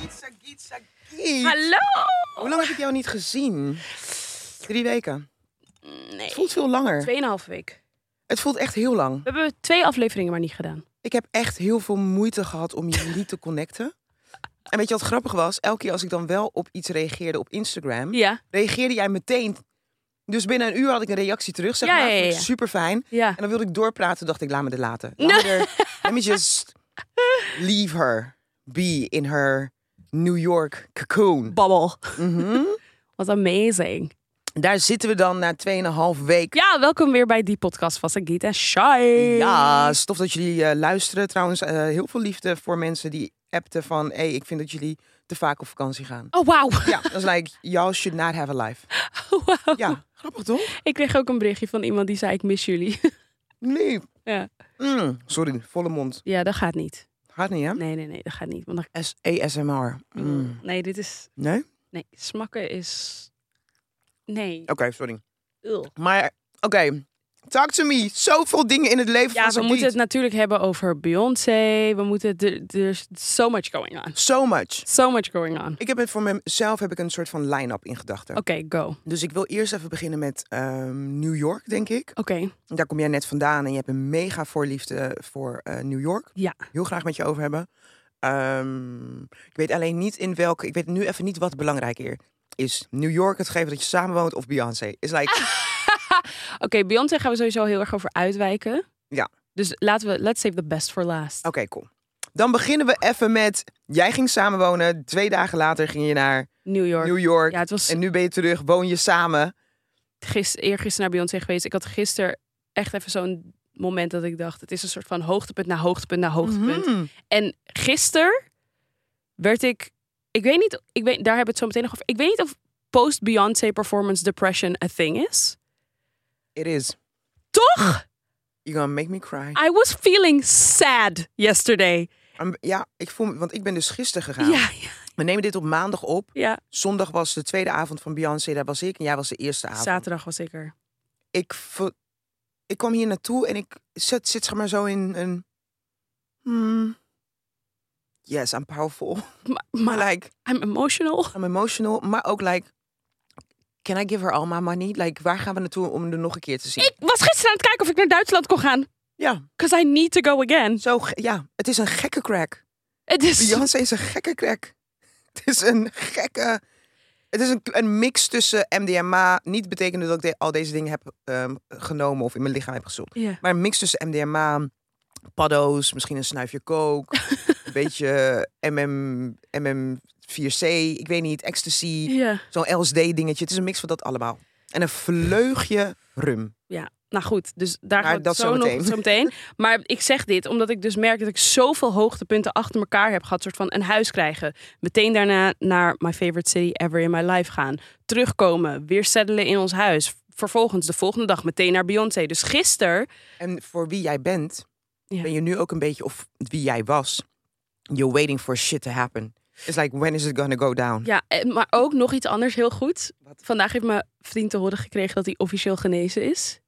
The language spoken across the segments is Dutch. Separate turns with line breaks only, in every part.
Gietsa, gietsa, giet.
Hallo!
Hoe lang heb ik jou niet gezien? Drie weken.
Nee,
Het voelt veel langer.
tweeënhalve week.
Het voelt echt heel lang.
We hebben twee afleveringen maar niet gedaan.
Ik heb echt heel veel moeite gehad om jullie te connecten. En weet je wat grappig was? Elke keer als ik dan wel op iets reageerde op Instagram,
Ja,
reageerde jij meteen. Dus binnen een uur had ik een reactie terug, zeg
Ja,
maar.
ja, ja, ja.
Super fijn.
ja.
En dan wilde ik doorpraten, dacht ik, laat me dit laten. Laat me er- let me just leave her be in her New York cocoon.
Babbel.
Mhm.
Wat amazing.
Daar zitten we dan na 2,5 week.
Ja, welkom weer bij die podcast van Sagit en Shai.
Ja, stof dat jullie eh, luisteren. Trouwens, eh, heel veel liefde voor mensen die appten van... hé, hey, ik vind dat jullie te vaak op vakantie gaan.
Oh, wauw.
Ja, dat is like, y'all should not have a life.
Wauw.
Ja, grappig toch?
Ik kreeg ook een berichtje van iemand die zei, ik mis jullie.
Nee.
Ja.
Mm, sorry, volle mond.
Ja, dat gaat niet.
Gaat niet, hè?
Nee, nee, nee, dat gaat niet. Want dan...
S ASMR. Mm.
Nee, dit is...
Nee? Oké,
Nee, smakken is...
Oh.
Nee.
sorry.
Ugh.
Maar, oké. Talk to me. Zoveel dingen in het leven
Ja,
van
we
zo'n
moeten
lied.
het natuurlijk hebben over Beyoncé. We moeten... er- There's so much going on.
So much.
So much going on.
Ik heb het voor mezelf heb ik een soort van line-up in gedachten.
Oké, go. Oké.
Dus ik wil eerst even beginnen met ehm, New York, denk ik. Daar kom jij net vandaan en je hebt een mega voorliefde voor eh, New York.
Ja.
Heel graag met je over hebben. Ehm, ik weet alleen niet in welke. Ik weet nu even niet wat belangrijker is. New York, het geven dat je samenwoont of Beyoncé. Is
Ah.
like,
Oké, Beyoncé gaan we sowieso heel erg over uitwijken.
Ja. Oh,
Dus laten we... Let's save the best for last.
oké, cool. Dan beginnen we even met. Jij ging samenwonen. Twee dagen later ging je naar
New York.
New York.
Ja, het was
En nu ben je terug, woon je samen.
gister, eergisteren naar Beyoncé geweest. Ik had gisteren echt even zo'n moment dat ik dacht... Het is een soort van hoogtepunt na hoogtepunt na hoogtepunt.
Mhm.
En gisteren werd ik. Ik weet niet. Ik weet, daar hebben we het zo meteen nog over. Ik weet niet of post-Beyoncé performance depression a thing is.
It is.
Toch?
You're gonna make me cry.
I was feeling sad yesterday.
Um, Ja, ik voel me, want ik ben dus gisteren
Ja,
gegaan.
ja,
We nemen dit op maandag op.
ja.
Zondag was de tweede avond van Beyoncé, daar was ik en jij was de eerste avond.
Zaterdag was ik er.
Ik, vo- ik kwam hier naartoe en ik zit, zit zeg maar zo in een... Hmm, yes, I'm powerful.
Maar,
Maar
maar
like,
I'm emotional.
I'm emotional, maar ook like... Can I give her all my money? Like, waar gaan we naartoe om er nog een keer te zien?
Ik was gisteren aan het kijken of ik naar Duitsland kon gaan.
Ja,
Because I need to go again.
zo, ge- ja, het is een gekke crack.
Het is.
Beyoncé is een gekke crack. Het is een gekke... Het is een, een mix tussen MDMA, niet betekende dat ik de- al deze dingen heb ehm, genomen of in mijn lichaam heb gezocht.
Ja.
Maar een mix tussen MDMA, paddo's, misschien een snuifje kook, een beetje MM, MM4C, ik weet niet, ecstasy,
ja.
zo'n LSD-dingetje. Het is een mix van dat allemaal. En een vleugje rum.
Ja, nou goed, dus daar
Maar
gaat het
dat
zo
zometeen.
nog zo meteen. Maar ik zeg dit omdat ik dus merk dat ik zoveel hoogtepunten achter elkaar heb gehad. soort van een huis krijgen. Meteen daarna naar my favorite city ever in my life gaan. Terugkomen, weer settelen in ons huis. Vervolgens de volgende dag meteen naar Beyoncé. Dus gisteren,
En voor wie jij bent,
Ja.
ben je nu ook een beetje, of wie jij was, you're waiting for shit to happen. It's like, when is it gonna go down?
ja, eh, maar ook nog iets anders heel goed.
Wat?
Vandaag heeft mijn vriend te horen gekregen dat hij officieel genezen is.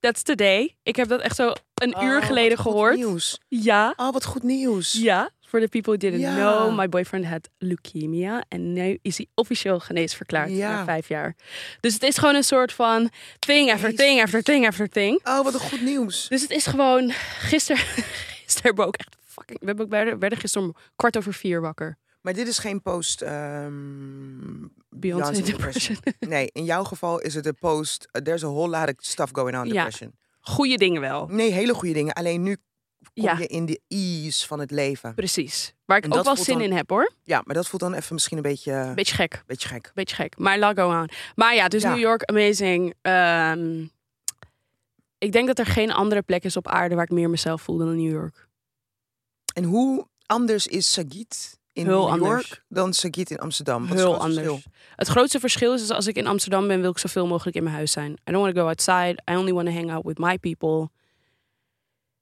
That's today. Ik heb dat echt zo een uur
Oh,
geleden
wat goed
gehoord.
Nieuws.
Ja.
Oh, wat goed nieuws.
Ja, for the people who didn't
Ja.
know, my boyfriend had leukemia. En nu is hij officieel geneesverklaard
Ja.
na vijf jaar. Dus het is gewoon een soort van thing after
Jezus.
thing after thing after thing.
Oh, wat een goed nieuws.
Dus het is gewoon, gisteren, gisteren hebben we ook echt fucking, we hebben ook, werden, werden gisteren om kwart over vier wakker.
Maar dit is geen post ehm
Beyoncé depression.
nee, in jouw geval is het een post. uh, there's a whole lot of stuff going on
Ja.
depression.
Goeie dingen wel.
Nee, hele goede dingen. Alleen nu kom
Ja.
je in de ease van het leven.
Precies. Waar ik
En
ook
dat
wel
voelt
zin
dan-
in heb hoor.
Ja, maar dat voelt dan even misschien een beetje, eh,
Beetje gek.
beetje gek.
Beetje gek. Maar laat go aan. Maar ja, dus
Ja.
New York, amazing. Ehm, ik denk dat er geen andere plek is op aarde waar ik meer mezelf voel dan in New York.
En hoe anders is Sagit in
Heel
New York
anders.
dan Sagit in Amsterdam? Wat is
Heel
het grootste
anders. Het grootste verschil is, is als ik in Amsterdam ben, wil ik zoveel mogelijk in mijn huis zijn. I don't want to go outside. I only want to hang out with my people.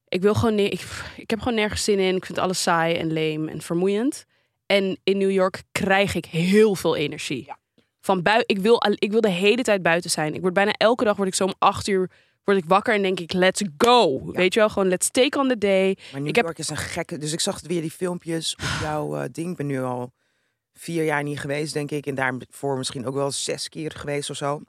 Ik wil gewoon ne- ik, ik heb gewoon nergens zin in. Ik vind alles saai en leem en vermoeiend. En in New York krijg ik heel veel energie.
Ja.
Van bui ik wil, al- ik wil de hele tijd buiten zijn. Ik word bijna elke dag word ik zo om acht uur word ik wakker en denk ik, let's go. Weet je wel, gewoon let's take on the day.
Maar New
Ik heb-
York is een gekke... Dus ik zag weer die filmpjes op jouw eh, ding. Ik ben nu al vier jaar niet geweest, denk ik. En daarvoor misschien ook wel zes keer geweest of zo.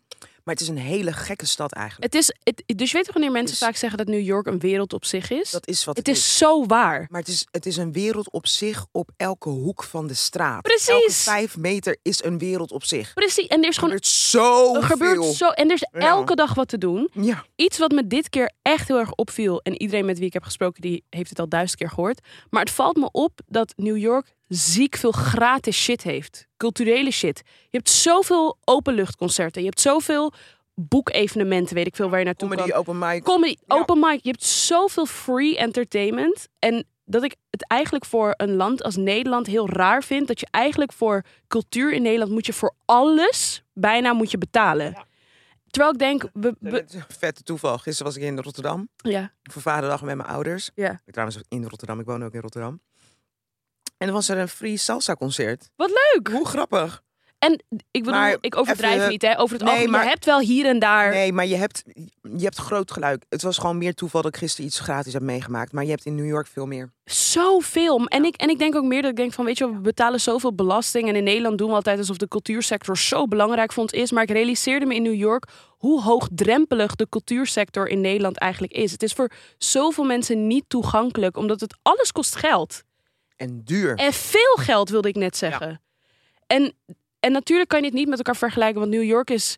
Maar het is een hele gekke stad eigenlijk.
Het is, het, dus je weet toch wanneer mensen
Is-
vaak zeggen dat New York een wereld op zich is?
Dat is wat
het is zo waar.
Maar het is, het is een wereld op zich op elke hoek van de straat. Elke
Precies.
vijf meter is een wereld op zich.
Precies. En er is
Er
gewoon
gebeurt zo
er gebeurt zo. En er is
Ja.
elke dag wat te doen.
Ja.
Iets wat me dit keer echt heel erg opviel. En iedereen met wie ik heb gesproken, die heeft het al duizend keer gehoord. Maar het valt me op dat New York ziek veel gratis shit heeft. Culturele shit. Je hebt zoveel openluchtconcerten. Je hebt zoveel boekevenementen, weet ik veel, waar je naartoe kan.
Comedy, open mic.
comedy,
Ja.
open mic. Je hebt zoveel free entertainment. En dat ik het eigenlijk voor een land als Nederland heel raar vind. Dat je eigenlijk voor cultuur in Nederland moet je voor alles bijna moet je betalen. Terwijl ik denk, we, we-
Het is een Vette toeval. Gisteren was ik in Rotterdam.
ja,
Voor vaderdag met mijn ouders.
Ja.
Ik Trouwens in Rotterdam. Ik woon ook in Rotterdam. En dan was er een free salsa concert.
wat leuk.
Hoe grappig.
Ik bedoel,
Maar
ik overdrijf
even-
niet, hè? Over het
Nee,
algemeen.
maar-
Je hebt wel hier en daar.
Nee, maar je hebt, je hebt groot geluid. Het was gewoon meer toeval dat ik gisteren iets gratis heb meegemaakt. Maar je hebt in New York veel meer.
Zoveel. En ik, en ik denk ook meer dat ik denk van, weet je wel, we betalen zoveel belasting. En in Nederland doen we altijd alsof de cultuursector zo belangrijk voor ons is. Maar ik realiseerde me in New York hoe hoogdrempelig de cultuursector in Nederland eigenlijk is. Het is voor zoveel mensen niet toegankelijk, omdat het alles kost geld.
En duur.
En veel geld, wilde ik net zeggen. En, en natuurlijk kan je dit niet met elkaar vergelijken, want New York is...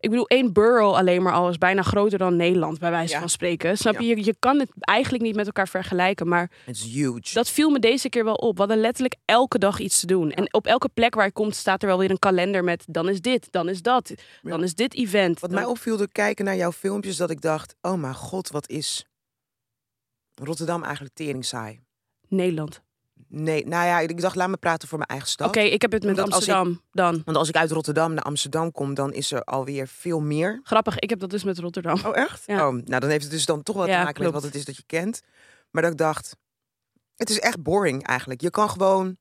Ik bedoel, één borough alleen maar al is bijna groter dan Nederland, bij wijze
Ja.
van spreken. Snap
Ja.
je? je? Je kan het eigenlijk niet met elkaar vergelijken, maar...
Het is huge.
Dat viel me deze keer wel op. We hadden letterlijk elke dag iets te doen. En op elke plek waar je komt staat er wel weer een kalender met... dan is dit, dan is dat, dan is dit event.
Wat
Dan-
mij opviel door kijken naar jouw filmpjes, dat ik dacht: oh mijn god, wat is Rotterdam eigenlijk tering saai?
Nederland.
Nee, nou ja, ik dacht: laat me praten voor mijn eigen stad.
Oké, ik heb het met
Omdat als ik-
Amsterdam dan.
Want als ik uit Rotterdam naar Amsterdam kom, dan is er alweer veel meer.
Grappig, ik heb dat dus met Rotterdam.
Oh, echt?
Ja.
Oh, nou, dan heeft het dus dan toch wel te
Ja,
maken
klopt.
met wat het is dat je kent. Maar dat ik dacht: het is echt boring eigenlijk. Je kan gewoon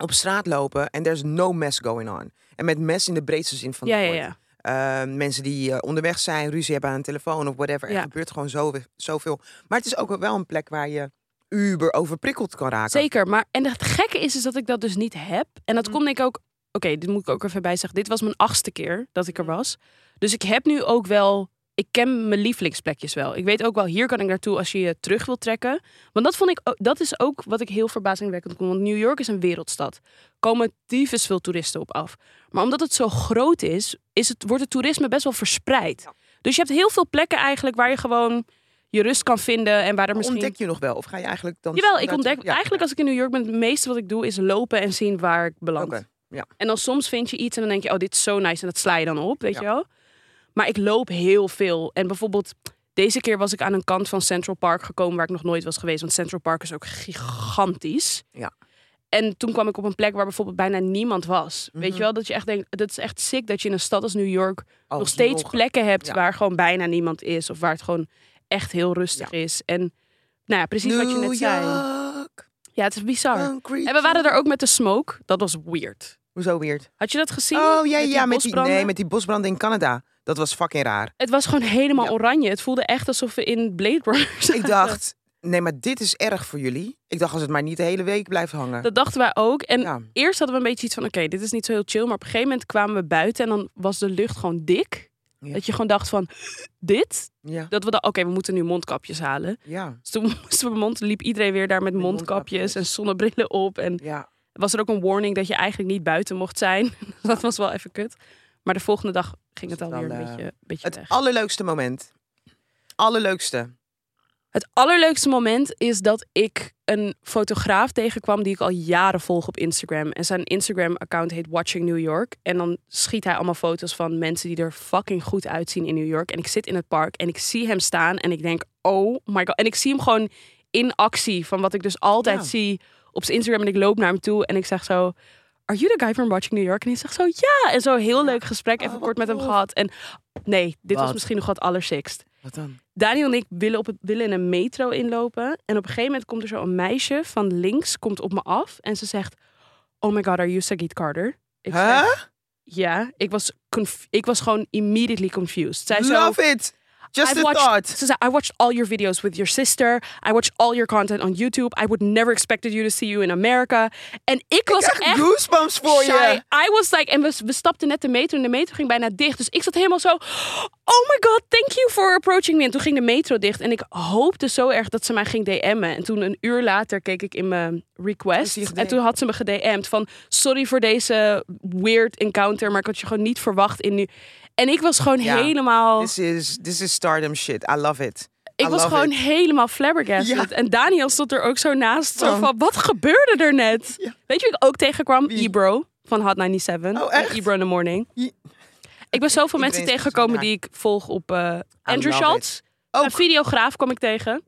op straat lopen en there's no mess going on. En met mes in de breedste zin van het
ja, ja,
woord.
ja.
Eh, mensen die eh, onderweg zijn, ruzie hebben aan de telefoon of whatever.
Ja.
Er gebeurt gewoon zo, zoveel. Maar het is ook wel een plek waar je uber overprikkeld kan raken. Mm.
Zeker, maar... En het gekke is, is dat ik dat dus niet heb. En dat komt denk ik ook... Oké, dit moet ik ook even bij zeggen. Dit was mijn achtste keer dat ik er
Mm.
was. Dus ik heb nu ook wel... Ik ken mijn lievelingsplekjes wel. Ik weet ook wel, hier kan ik naartoe als je je terug wil trekken. Want dat vond ik, ook- dat is ook wat ik heel verbazingwekkend vond. Want New York is een wereldstad. Komen tyfus veel toeristen op af. Maar omdat het zo groot is, is het, wordt het toerisme best wel verspreid.
Ja.
Dus je hebt heel veel plekken eigenlijk waar je gewoon je rust kan vinden. En waar er
Maar
misschien...
Ontdek je nog wel? Of ga je eigenlijk dan...
Jawel, ik
standaard-
ontdek...
Ja,
Eigenlijk als ik in New York ben, het meeste wat ik doe is lopen en zien waar ik beland.
Oké, ja.
En dan soms vind je iets en dan denk je, oh, dit is zo nice. En dat sla je dan op, weet
Ja.
je wel. Maar ik loop heel veel. En bijvoorbeeld, deze keer was ik aan een kant van Central Park gekomen waar ik nog nooit was geweest. Want Central Park is ook gigantisch.
Ja.
En toen kwam ik op een plek waar bijvoorbeeld bijna niemand was. Weet
Mhm.
je wel, dat je echt denkt, dat is echt sick dat je in een stad als New York
alsnog.
nog steeds plekken hebt
Ja.
waar gewoon bijna niemand is. Of waar het gewoon echt heel rustig is. En nou ja, precies wat je
New
net zei.
York,
Ja, het is bizar.
concrete
En we waren er ook met de smoke. Dat was weird.
Hoezo weird?
Had je dat gezien?
Oh, ja, ja, met die,
bosbranden?
nee, met die bosbranden in Canada. Dat was fucking raar.
Het was gewoon helemaal
Ja.
oranje. Het voelde echt alsof we in Blade Runner zaten.
Ik dacht, nee, maar dit is erg voor jullie. Ik dacht, als het maar niet de hele week blijft hangen.
Dat dachten wij ook. En
Ja.
eerst hadden we een beetje iets van... Oké, dit is niet zo heel chill. Maar op een gegeven moment kwamen we buiten... en dan was de lucht gewoon dik.
Ja.
Dat je gewoon dacht van... Dit?
Ja,
Dat we dachten, oké, we moeten nu mondkapjes halen.
ja,
Dus toen moesten we mond, liep iedereen weer daar met
Met
mondkapjes
mondkapjes.
en zonnebrillen op. En
ja.
was er ook een warning dat je eigenlijk niet buiten mocht zijn. dat was wel even kut. Maar de volgende dag
Was
ging het
het
alweer
dan,
een
eh,
beetje, beetje
Het
weg.
allerleukste moment. Allerleukste.
Het allerleukste moment is dat ik een fotograaf tegenkwam die ik al jaren volg op Instagram. En zijn Instagram-account heet Watching New York. En dan schiet hij allemaal foto's van mensen die er fucking goed uitzien in New York. En ik zit in het park en ik zie hem staan en ik denk, oh my god. En ik zie hem gewoon in actie van wat ik dus altijd
Ja.
zie op zijn Instagram. En ik loop naar hem toe en ik zeg zo, are you the guy from Watching New York? En hij zegt zo, ja. En zo heel leuk gesprek,
Oh,
even
wat
kort met hem
tof.
gehad. En nee, dit was
Wat?
misschien nog wat allersikst.
Wat dan?
Daniel en ik willen, op het, willen in een metro inlopen. En op een gegeven moment komt er zo een meisje van links komt op me af. En ze zegt, oh my god, are you Sagit Carter? Ik
Huh?
zeg, ja, ik was, conf- ik was gewoon immediately confused. Zij zo,
Love it!
I
Just a
watched,
thought.
Ze zei, I watched all your videos with your sister. I watched all your content on YouTube. I would never expected you to see you in America. En ik was
Krijg
echt...
goosebumps voor
shy.
je.
I was like, en we, we stapten net de metro en de metro ging bijna dicht. Dus ik zat helemaal zo, oh my god, thank you for approaching me. En toen ging de metro dicht en ik hoopte zo erg dat ze mij ging DM'en. En toen een uur later keek ik in mijn
Is die
request
gedm'd?
en toen had ze me gedM'd van, sorry voor deze weird encounter, maar ik had je gewoon niet verwacht in nu. En ik was gewoon
Ja.
helemaal...
This is, this is stardom shit. I love it.
Ik
I
was
love
gewoon
it.
helemaal flabbergasted.
Ja.
En Daniel stond er ook zo naast. Zo
Van-
van, wat gebeurde er net?
Ja.
Weet je wie ik ook tegenkwam?
Wie?
Ebro van Hot 97.
Oh, echt?
Ebro in the Morning.
Je-
Ik ben zoveel mensen
is
tegengekomen
naar.
die ik volg op eh, Andrew
love
Schultz. Een
Ook.
videograaf kwam ik tegen.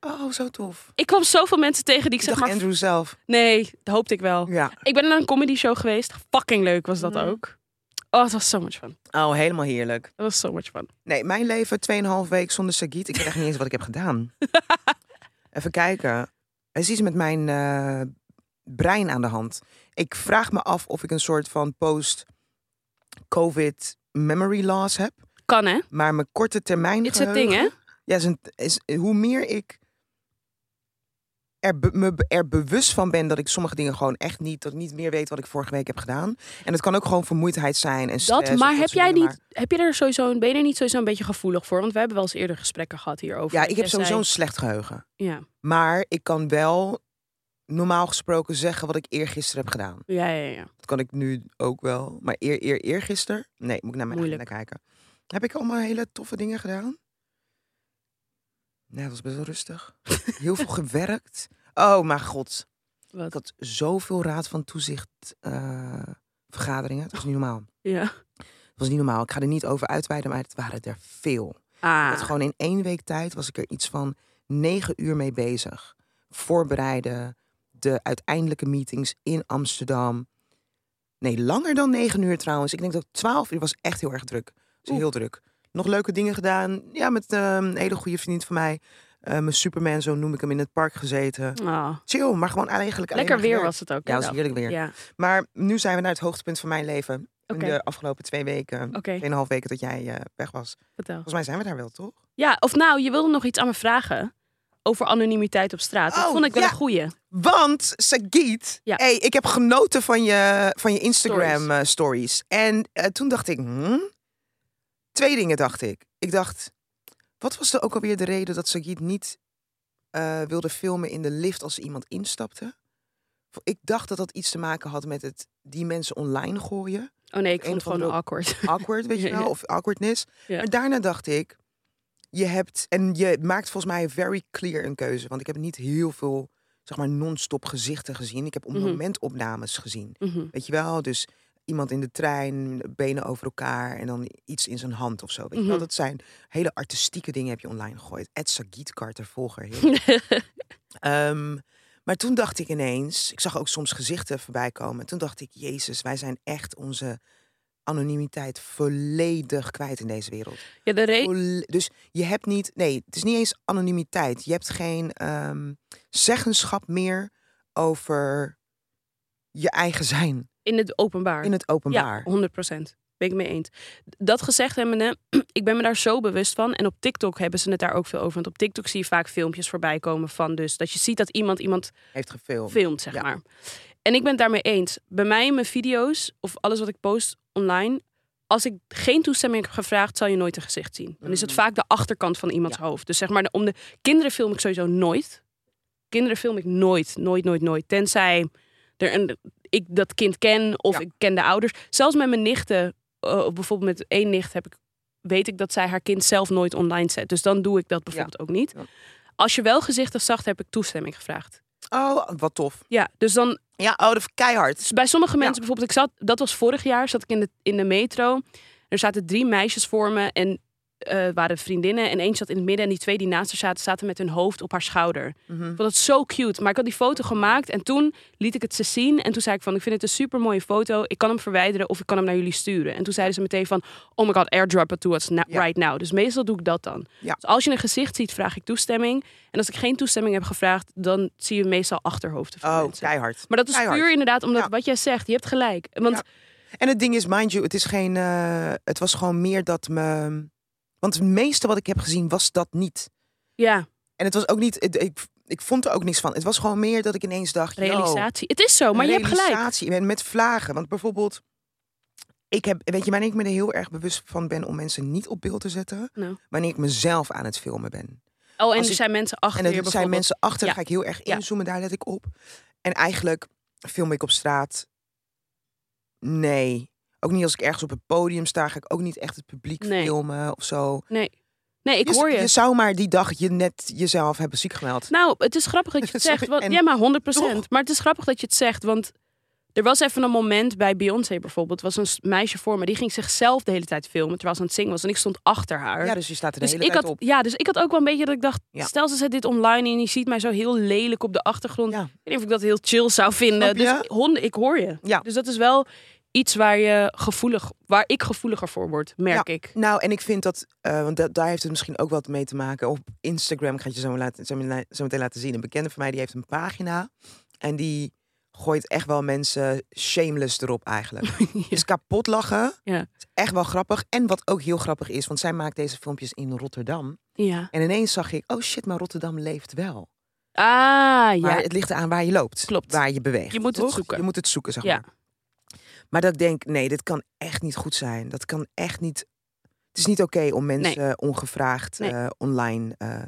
Oh, zo tof.
Ik kwam zoveel mensen tegen die ik
Ik
zeg
dacht
maar...
Andrew zelf.
Nee, dat hoopte ik wel.
Ja.
Ik ben naar een comedy show geweest. Fucking leuk was dat
Mhm.
ook. Oh, het was so much fun.
Oh, helemaal heerlijk.
Dat was so much fun.
Nee, mijn leven 2,5 week zonder Sagit. Ik weet echt niet eens wat ik heb gedaan. Even kijken. Er is iets met mijn eh, brein aan de hand. Ik vraag me af of ik een soort van post-COVID memory loss heb.
Kan hè?
Maar mijn korte termijn
It's a
geheugen-
thing hè?
Ja, is een, is, hoe meer ik er, be- me be- er bewust van ben dat ik sommige dingen gewoon echt niet, dat ik niet meer weet wat ik vorige week heb gedaan. En het kan ook gewoon vermoeidheid zijn en stress.
Dat,
of
maar heb
soort
jij
dingen,
niet, heb je er sowieso, een- ben je er niet sowieso een beetje gevoelig voor? Want we hebben wel eens eerder gesprekken gehad hierover.
Ja,
dat
ik heb
jij
sowieso
zei-
een slecht geheugen.
Ja,
Maar ik kan wel normaal gesproken zeggen wat ik eergisteren heb gedaan.
ja, ja, ja.
Dat kan ik nu ook wel. Maar eer, eer, eergisteren? Nee, moet ik naar mijn
Moeilijk.
agenda kijken. Heb ik allemaal hele toffe dingen gedaan? Nee, dat was best wel rustig. Heel veel gewerkt. Oh, mijn god. Ik
Wat?
had zoveel raad van toezicht eh, vergaderingen. Het was niet normaal.
Ja.
Het was niet normaal. Ik ga er niet over uitweiden, maar het waren er veel. Dat
Ah,
gewoon in één week tijd was ik er iets van negen uur mee bezig. Voorbereiden, de uiteindelijke meetings in Amsterdam. Nee, langer dan negen uur trouwens. Ik denk dat twaalf uur was echt heel erg druk. Dus
Oeh.
heel druk. Nog leuke dingen gedaan. Ja, met eh, een hele goede vriend van mij. eh, mijn Superman, zo noem ik hem, in het park gezeten.
Ah.
Chill, maar gewoon eigenlijk alleen
lekker
maar
weer
gewerkt.
was het ook.
Ja, het was
inderdaad.
heerlijk weer.
Ja,
Maar nu zijn we naar het hoogtepunt van mijn leven.
Oké.
In de afgelopen twee weken,
oké,
tweeënhalf weken dat jij eh, weg was.
vertel.
Volgens mij zijn we daar wel, toch?
Ja, of nou, je wilde nog iets aan me vragen over anonimiteit op straat. dat
Oh,
vond ik wel
ja.
een goeie.
Want Sagiet,
Ja.
hey, ik heb genoten van je, van je Instagram
Stories.
eh, stories. En eh, toen dacht ik, hmm? twee dingen dacht ik. Ik dacht, wat was er ook alweer de reden dat Sagiet niet eh, wilde filmen in de lift als er iemand instapte? Ik dacht dat dat iets te maken had met het die mensen online gooien.
Oh nee, ik
een
vond het
of
gewoon
andere-
awkward.
Awkward, weet je
Ja,
wel,
ja.
of awkwardness.
Ja.
Maar daarna dacht ik, je hebt, en je maakt volgens mij very clear een keuze. Want ik heb niet heel veel, zeg maar, non-stop gezichten gezien. Ik heb op
Mhm.
momentopnames gezien.
Mhm.
Weet je wel? Dus iemand in de trein, benen over elkaar en dan iets in zijn hand of zo. Weet je wel?
Mhm.
Dat zijn hele artistieke dingen heb je online gegooid. Ed Sagiet Carter, volger. heel erg. Ehm, maar toen dacht ik ineens, ik zag ook soms gezichten voorbij komen. Toen dacht ik, Jezus, wij zijn echt onze anonimiteit volledig kwijt in deze wereld.
ja, de re-
Volle- Dus je hebt niet, nee, het is niet eens anonimiteit. Je hebt geen ehm, zeggenschap meer over je eigen zijn.
in het openbaar.
In het openbaar.
Ja, 100 Ben ik mee eens. Dat gezegd hebbende, ik ben me daar zo bewust van. En op TikTok hebben ze het daar ook veel over. Want op TikTok zie je vaak filmpjes voorbij komen van dus... dat je ziet dat iemand iemand
Heeft gefilmd.
filmt, zeg
Ja.
maar. En ik ben het daarmee eens. Bij mij in mijn video's of alles wat ik post online... als ik geen toestemming heb gevraagd, zal je nooit een gezicht zien. Dan is het
Mhm.
vaak de achterkant van iemands hoofd. Dus zeg maar, de- om de kinderen film ik sowieso nooit. Kinderen film ik nooit, nooit, nooit, nooit. Tenzij er een, ik dat kind ken of
Ja.
ik ken de ouders. Zelfs met mijn nichten, eh, of bijvoorbeeld met één nicht heb ik, weet ik dat zij haar kind zelf nooit online zet. Dus dan doe ik dat bijvoorbeeld ook niet.
Ja.
Als je wel gezichten zag, heb ik toestemming gevraagd.
Oh, wat tof.
Ja, dus dan
Ja, oh, dat keihard.
dus bij sommige mensen bijvoorbeeld, ik zat, dat was vorig jaar, zat ik in de, in de metro. Er zaten drie meisjes voor me en eh, waren vriendinnen. En eentje zat in het midden en die twee die naast haar zaten, zaten met hun hoofd op haar schouder.
Mhm.
Ik vond dat zo cute. Maar ik had die foto gemaakt en toen liet ik het ze zien. En toen zei ik van, ik vind het een super mooie foto. Ik kan hem verwijderen of ik kan hem naar jullie sturen. En toen zeiden ze meteen van, oh my god, airdrop it to us na-
Ja.
right now. Dus meestal doe ik dat dan.
Ja.
Dus als je een gezicht ziet, vraag ik toestemming. En als ik geen toestemming heb gevraagd, dan zie je meestal achterhoofden van
Oh,
mensen.
keihard.
Maar dat is
Keihard.
puur inderdaad omdat
Ja.
wat jij zegt, je hebt gelijk. Want
En het ding is, mind you, het is geen. eh, het was gewoon meer dat me. Want het meeste wat ik heb gezien was dat niet.
Ja,
En het was ook niet, het- ik, ik vond er ook niks van. Het was gewoon meer dat ik ineens dacht, yo,
realisatie. Het is zo, maar je hebt gelijk.
realisatie en met vlagen. Want bijvoorbeeld, ik heb, weet je, wanneer ik me er heel erg bewust van ben om mensen niet op beeld te zetten,
Nou.
wanneer ik mezelf aan het filmen ben.
Oh, en
Als
er
ik-
zijn mensen achter
En er
je
zijn
bijvoorbeeld.
mensen achter, daar
Ja.
ga ik heel erg
Ja.
inzoomen, daar let ik op. En eigenlijk film ik op straat. Nee. Ook niet als ik ergens op het podium sta, ga ik ook niet echt het publiek
Nee.
filmen of zo.
Nee, ik
je,
hoor je.
je zou maar die dag je net jezelf hebben ziek gemeld.
Nou, het is grappig dat je het
Sorry,
zegt. Want,
en
ja, maar 100
toch?
Maar het is grappig dat je het zegt. Want er was even een moment bij Beyoncé bijvoorbeeld. was een s- meisje voor me. Die ging zichzelf de hele tijd filmen terwijl ze aan het zingen was. En ik stond achter haar.
Ja, dus je staat er de
dus,
hele
ik
tijd
had,
op.
ja, dus ik had ook wel een beetje dat ik dacht...
Ja.
stel ze zet dit online en je ziet mij zo heel lelijk op de achtergrond.
Ja.
Ik weet niet of ik dat heel chill zou vinden.
Snap
Dus
je?
honden, ik hoor je.
Ja.
Dus dat is wel iets waar, je gevoelig, waar ik gevoeliger voor word, merk ik.
Nou, en ik vind dat, eh, want da- daar heeft het misschien ook wat mee te maken. Op Instagram gaat je zo, laten, zo, meteen- zo meteen laten zien. Een bekende van mij die heeft een pagina en die gooit echt wel mensen shameless erop eigenlijk. Dus kapot lachen.
Ja.
Het is echt wel grappig. En wat ook heel grappig is, want zij maakt deze filmpjes in Rotterdam.
Ja.
En ineens zag ik, oh shit, maar Rotterdam leeft wel.
Ah, ja.
Maar het ligt eraan waar je loopt.
Klopt.
Waar je beweegt.
Je moet het
toch?
zoeken.
Je moet het zoeken, zeg
Ja.
maar. Maar dat ik denk, nee, dit kan echt niet goed zijn. Dat kan echt niet... Het is niet oké om mensen eh, ongevraagd
Nee.
eh, online eh,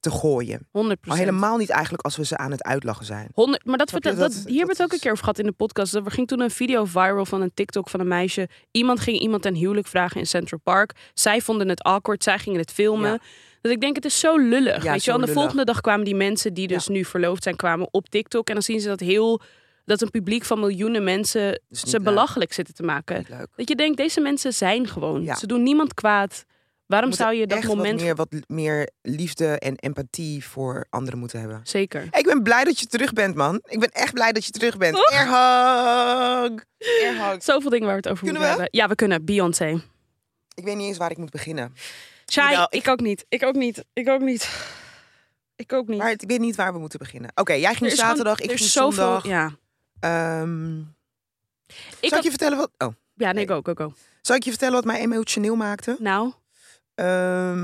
te gooien.
100
Maar helemaal niet eigenlijk als we ze aan het uitlachen zijn.
100, maar dat,
Snap je?
vertel, dat,
Dat-
hier hebben we het
dat
ook een
is-
keer over gehad in de podcast. Er ging toen een video viral van een TikTok van een meisje. Iemand ging iemand ten huwelijk vragen in Central Park. Zij vonden het awkward, zij gingen het filmen.
Ja.
Dat ik denk, het is zo lullig.
Ja,
weet je
zo
wel? En de
lullig.
volgende dag kwamen die mensen die dus nu verloofd zijn, kwamen op TikTok. En dan zien ze dat heel dat een publiek van miljoenen mensen
Dus
ze belachelijk zitten te maken.
Niet leuk.
Dat je denkt, deze mensen zijn gewoon.
Ja.
Ze doen niemand kwaad. Waarom
We
zou je
moeten
dat
echt
moment...
Wat meer, wat meer liefde en empathie voor anderen moeten hebben.
Zeker.
Ik ben blij dat je terug bent, man. Ik ben echt blij dat je terug bent.
Toch?
Airhug! Airhug.
Zoveel dingen waar we het over
Kunnen
moeten hebben. Ja, we kunnen. Beyoncé.
Ik weet niet eens waar ik moet beginnen.
Shai,
Jawel,
ik... ook niet. Ik ook niet. Ik ook niet. Ik ook niet.
Maar ik weet niet waar we moeten beginnen. Oké, jij ging
Er is gewoon-
zaterdag,
er
ik ging
is
zondag.
Ja.
Ehm,
Ik
zal ik
had-
je vertellen wat... Oh.
ja, nee, go, go, go.
Zal ik je vertellen wat mij emotioneel maakte?
Nou,
Ehm,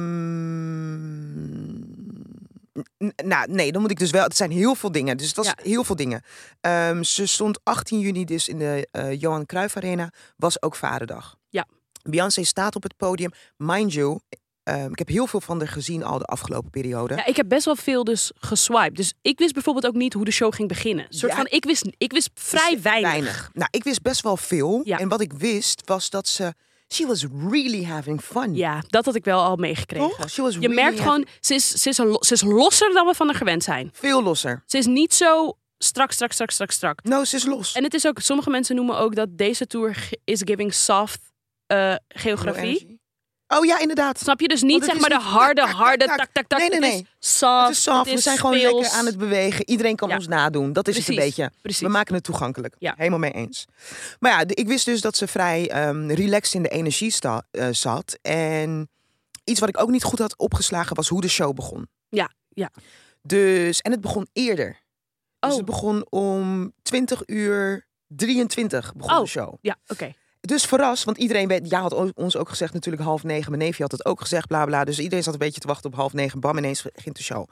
n- nou, nee, dan moet ik dus wel... Het zijn heel veel dingen. Dus dat is
Ja.
heel veel dingen. Ehm, ze stond 18 juni dus in de eh, Johan Cruijff Arena. Was ook vaderdag.
Ja.
Beyoncé staat op het podium. Mind you, ehm, ik heb heel veel van haar gezien al de afgelopen periode.
ja, ik heb best wel veel dus geswiped. Dus ik wist bijvoorbeeld ook niet hoe de show ging beginnen. Een soort
Ja. Dus
van, ik wist, ik wist vrij weinig.
Nou, ik wist best wel veel.
Ja.
En wat ik wist was dat ze... She was really having fun.
Ja, dat had ik wel al meegekregen.
Toch? She was
Je
really
merkt
having-
gewoon, ze is, ze, is een lo- ze is losser dan we van haar gewend zijn.
Veel losser.
Ze is niet zo strak, strak, strak, strak, strak.
Nou, ze is los.
En het is ook, sommige mensen noemen ook dat deze tour ge- is giving soft eh, geografie.
Oh ja, inderdaad.
Snap je? Dus niet
Want het
zeg
is
maar de
niet
harde,
tak, tak,
harde,
tak,
tak,
tak.
tak, tak.
Nee, nee,
Het
nee.
is soft.
Het is soft, we
is
zijn gewoon
speels.
lekker aan het bewegen. Iedereen kan
Ja.
ons nadoen. Dat is het
Precies,
een beetje.
precies.
We maken het toegankelijk.
Ja.
Helemaal mee eens. Maar ja, de- ik wist dus dat ze vrij ehm, relaxed in de energie sta- eh, zat. En iets wat ik ook niet goed had opgeslagen was hoe de show begon.
Ja, ja.
Dus, en het begon eerder. Dus
Oh.
het begon om 20 uur 23 begon
Oh.
de show.
Ja, oké.
Dus verrast, want iedereen weet, jij had o- ons ook gezegd natuurlijk half negen. Mijn neefje had het ook gezegd, bla bla. Dus iedereen zat een beetje te wachten op half negen. Bam, ineens begint de show.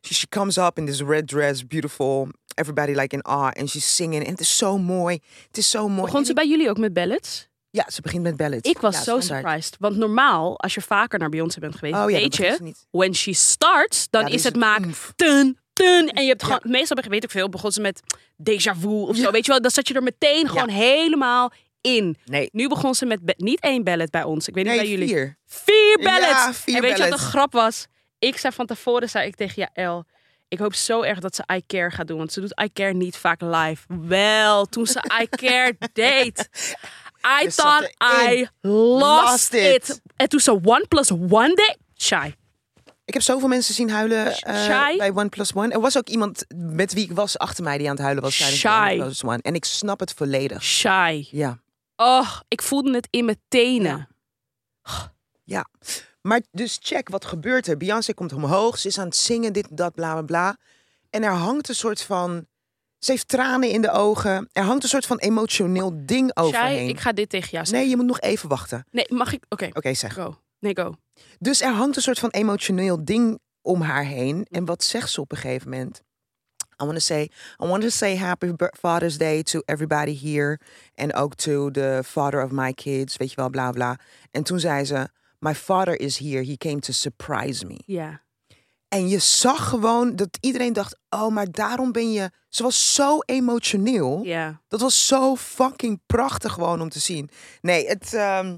She, she comes up in this red dress, beautiful. Everybody like in awe. And she's singing. En het is zo mooi. Het is zo mooi.
Begon ze
En
bij jullie ook met ballads?
ik- Ja, ze begint met ballads.
Ik was
Ja,
zo
standaard.
surprised. Want normaal, als je vaker naar Beyoncé bent geweest,
Oh ja,
weet
dat begint ze
je,
niet.
when she starts, dan
Ja,
is het
maakt.
maak tun, tun. En je hebt gewoon, meestal be- weet ik veel, begon ze met déjà vu of zo. Weet je wel, dan zat je er meteen gewoon helemaal in.
Nee,
Nu begon ze met ba- niet één ballet bij ons. Ik weet niet
nee
bij jullie.
vier.
Vier
Ja,
ballads.
vier
en weet je wat
ballads.
de grap was? Ik zei van tevoren zei ik tegen Jaël... Ik hoop zo erg dat ze I Care gaat doen. Want ze doet I Care niet vaak live. Wel, toen ze I Care deed. I
Je zat
thought
erin.
I lost,
Lost
it.
it.
En toen ze One Plus One deed. Shy.
Ik heb zoveel mensen zien huilen eh,
Shy?
bij One Plus One. Er was ook iemand met wie ik was achter mij die aan het huilen was tijdens de
Shy.
One Plus One. En ik snap het volledig.
Shy.
Ja.
Oh, ik voelde het in mijn tenen.
Ja. Maar dus check, wat gebeurt er? Beyoncé komt omhoog, ze is aan het zingen, dit, dat, bla, bla, bla. En er hangt een soort van... Ze heeft tranen in de ogen. Er hangt een soort van emotioneel ding
Shy,
overheen.
ik ga dit tegen jou zeggen.
Nee, je moet nog even wachten. Oké,
Nee, mag ik? Oké,
zeg.
go. Nee, go.
Dus er hangt een soort van emotioneel ding om haar heen. En wat zegt ze op een gegeven moment? I want to say, I want to say happy bir- Father's Day to everybody here. En ook to the father of my kids, weet je wel, bla bla. En toen zei ze, my father is here, he came to surprise me.
Ja.
En je zag gewoon dat iedereen dacht, oh, maar daarom ben je... Ze was zo emotioneel.
Ja.
Dat was zo fucking prachtig gewoon om te zien. Nee, het... ehm,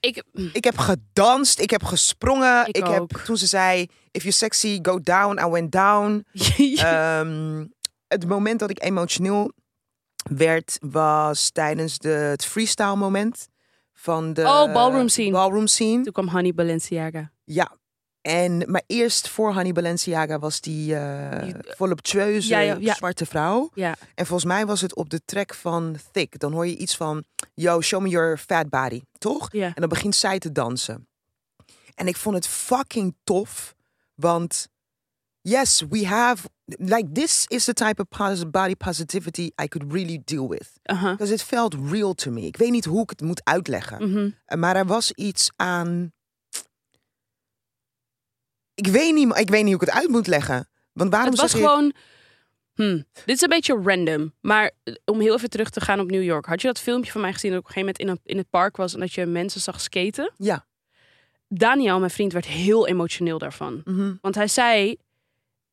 Ik,
ik heb gedanst, ik heb gesprongen.
Ik
Ik, heb
ook.
toen ze zei: If you sexy, go down. I went down. Ehm, het moment dat ik emotioneel werd was tijdens de, het freestyle moment van de
Oh, ballroom scene.
Ballroom scene.
Toen kwam Honey Balenciaga.
Ja. En maar eerst voor Hanny Balenciaga was die eh
Die-
voluptueuze
Ja, ja, ja.
zwarte vrouw.
Ja.
En volgens mij was het op de track van Thick. Dan hoor je iets van, yo, show me your fat body, toch?
Ja.
En dan begint zij te dansen. En ik vond het fucking tof, want yes, we have like this is the type of pos- body positivity I could really deal with.
Aha.
Because it felt real to me. Ik weet niet hoe ik het moet uitleggen,
Mhm.
Eh, maar er was iets aan. Ik weet niet, ik weet niet hoe ik het uit moet leggen. Want waarom
Het was
zeg je-
gewoon... Hmm. Dit is een beetje random. Maar eh, om heel even terug te gaan op New York. Had je dat filmpje van mij gezien dat ik op een gegeven moment in, een- in het park was... en dat je mensen zag skaten?
Ja.
Daniel, mijn vriend, werd heel emotioneel daarvan.
Mhm.
Want hij zei...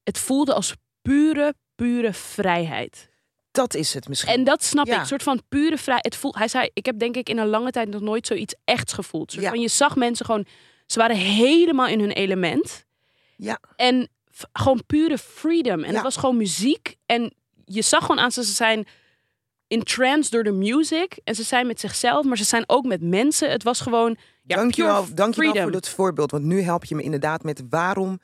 Het voelde als pure, pure vrijheid.
Dat is het misschien.
En dat snap
Ja.
ik. Een soort van pure vrij. Het voelt, hij zei, ik heb denk ik in een lange tijd nog nooit zoiets echt gevoeld. Soort
Ja.
van, je zag mensen gewoon, ze waren helemaal in hun element.
Ja.
En f- gewoon pure freedom. En
Ja.
het was gewoon muziek. En je zag gewoon aan ze, ze zijn in trance door de music. En ze zijn met zichzelf, maar ze zijn ook met mensen. Het was gewoon, ja,
dankjewel,
pure
dankjewel
freedom.
voor dat voorbeeld. Want nu help je me inderdaad met waarom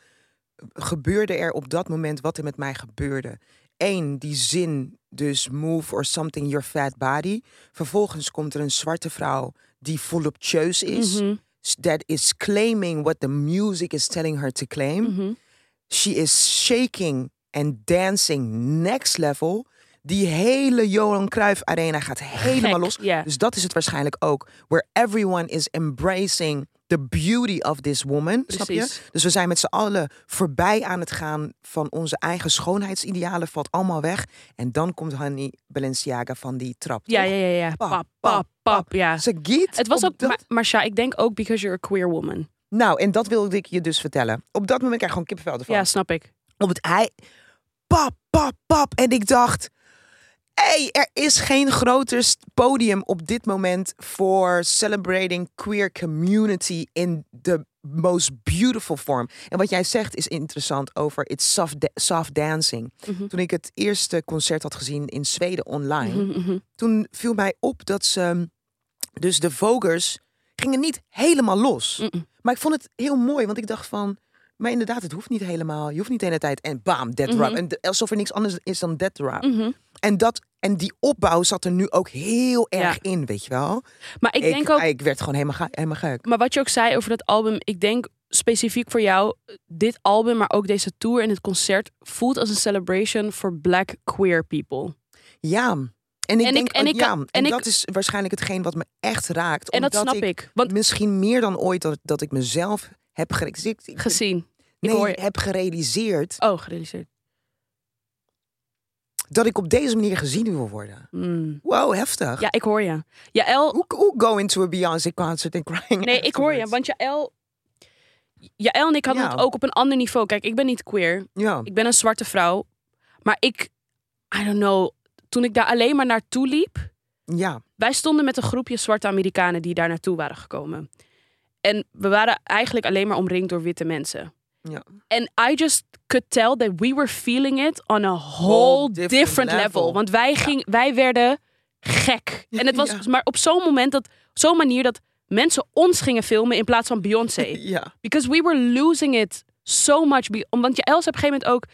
gebeurde er op dat moment wat er met mij gebeurde. Eén, die zin, dus move or something your fat body. Vervolgens komt er een zwarte vrouw die voluptueus is.
Mhm,
That is claiming what the music is telling her to claim.
mhm.
She is shaking and dancing next level. Die hele Johan Cruijff Arena gaat helemaal
Gek,
los.
ja.
Dus dat is het waarschijnlijk ook. Where everyone is embracing the beauty of this woman. Snap je?
Precies.
Dus we zijn met z'n allen voorbij aan het gaan van onze eigen schoonheidsidealen. Valt allemaal weg. En dan komt Hanny Balenciaga van die trap.
ja,
toch?
ja, ja, ja.
Pap,
Pap,
pap,
pap, pap. Ja.
Ze giet
Het was
op
ook,
dat-
maar, Marcia, ik denk ook because you're a queer woman.
Nou, en dat wilde ik je dus vertellen. Op dat moment krijg ik gewoon kippenvel ervan.
Ja, snap ik.
op het ei. Pap, pap, pap. En ik dacht, hé, hey, er is geen groter st- podium op dit moment voor celebrating queer community in the most beautiful form. En wat jij zegt is interessant over it's soft, da- soft dancing.
Mhm.
Toen ik het eerste concert had gezien in Zweden online,
Mhm, mhm.
toen viel mij op dat ze, ehm, dus de vogers, gingen niet helemaal los.
Mm-mm.
Maar ik vond het heel mooi, want ik dacht van... Maar inderdaad, het hoeft niet helemaal. Je hoeft niet de hele tijd en bam, dead rap.
Mhm.
En de- alsof er niks anders is dan dead rap.
Mhm.
En, dat, en die opbouw zat er nu ook heel
Ja.
erg in, weet je wel?
Maar ik denk ook,
ik werd gewoon helemaal, ga- helemaal gek.
Maar wat je ook zei over dat album, ik denk specifiek voor jou, dit album, maar ook deze tour en het concert voelt als een celebration voor black queer people.
Ja. En ik
ik-
denk,
en
ook,
ik-
ja,
en
en,
ik-
dat is waarschijnlijk hetgeen wat me echt raakt.
En dat
omdat
snap ik. Want
Misschien meer dan ooit dat, dat ik mezelf heb gerealiseerd. ik-
gezien. ik
nee,
hoor je.
heb gerealiseerd
Oh, gerealiseerd.
dat ik op deze manier gezien wil worden.
Mm.
Wow, heftig.
Ja, ik hoor je. Jaël,
Hoe, hoe go into a Beyoncé concert and crying
nee, ik hoor je.
afterwards?
Want Jaël, Jaël en ik hadden
Ja.
het ook op een ander niveau. Kijk, ik ben niet queer.
Ja.
Ik ben een zwarte vrouw. Maar ik, I don't know, toen ik daar alleen maar naartoe liep,
Ja,
Wij stonden met een groepje zwarte Amerikanen die daar naartoe waren gekomen. En we waren eigenlijk alleen maar omringd door witte mensen.
Ja.
En I just could tell that we were feeling it on a whole different,
different
level.
level.
Want wij, ging, wij werden gek. En het was
Ja.
maar op zo'n moment, dat zo'n manier dat mensen ons gingen filmen in plaats van Beyoncé.
ja.
Because we were losing it so much. Be- om- Want je Els op een gegeven moment ook...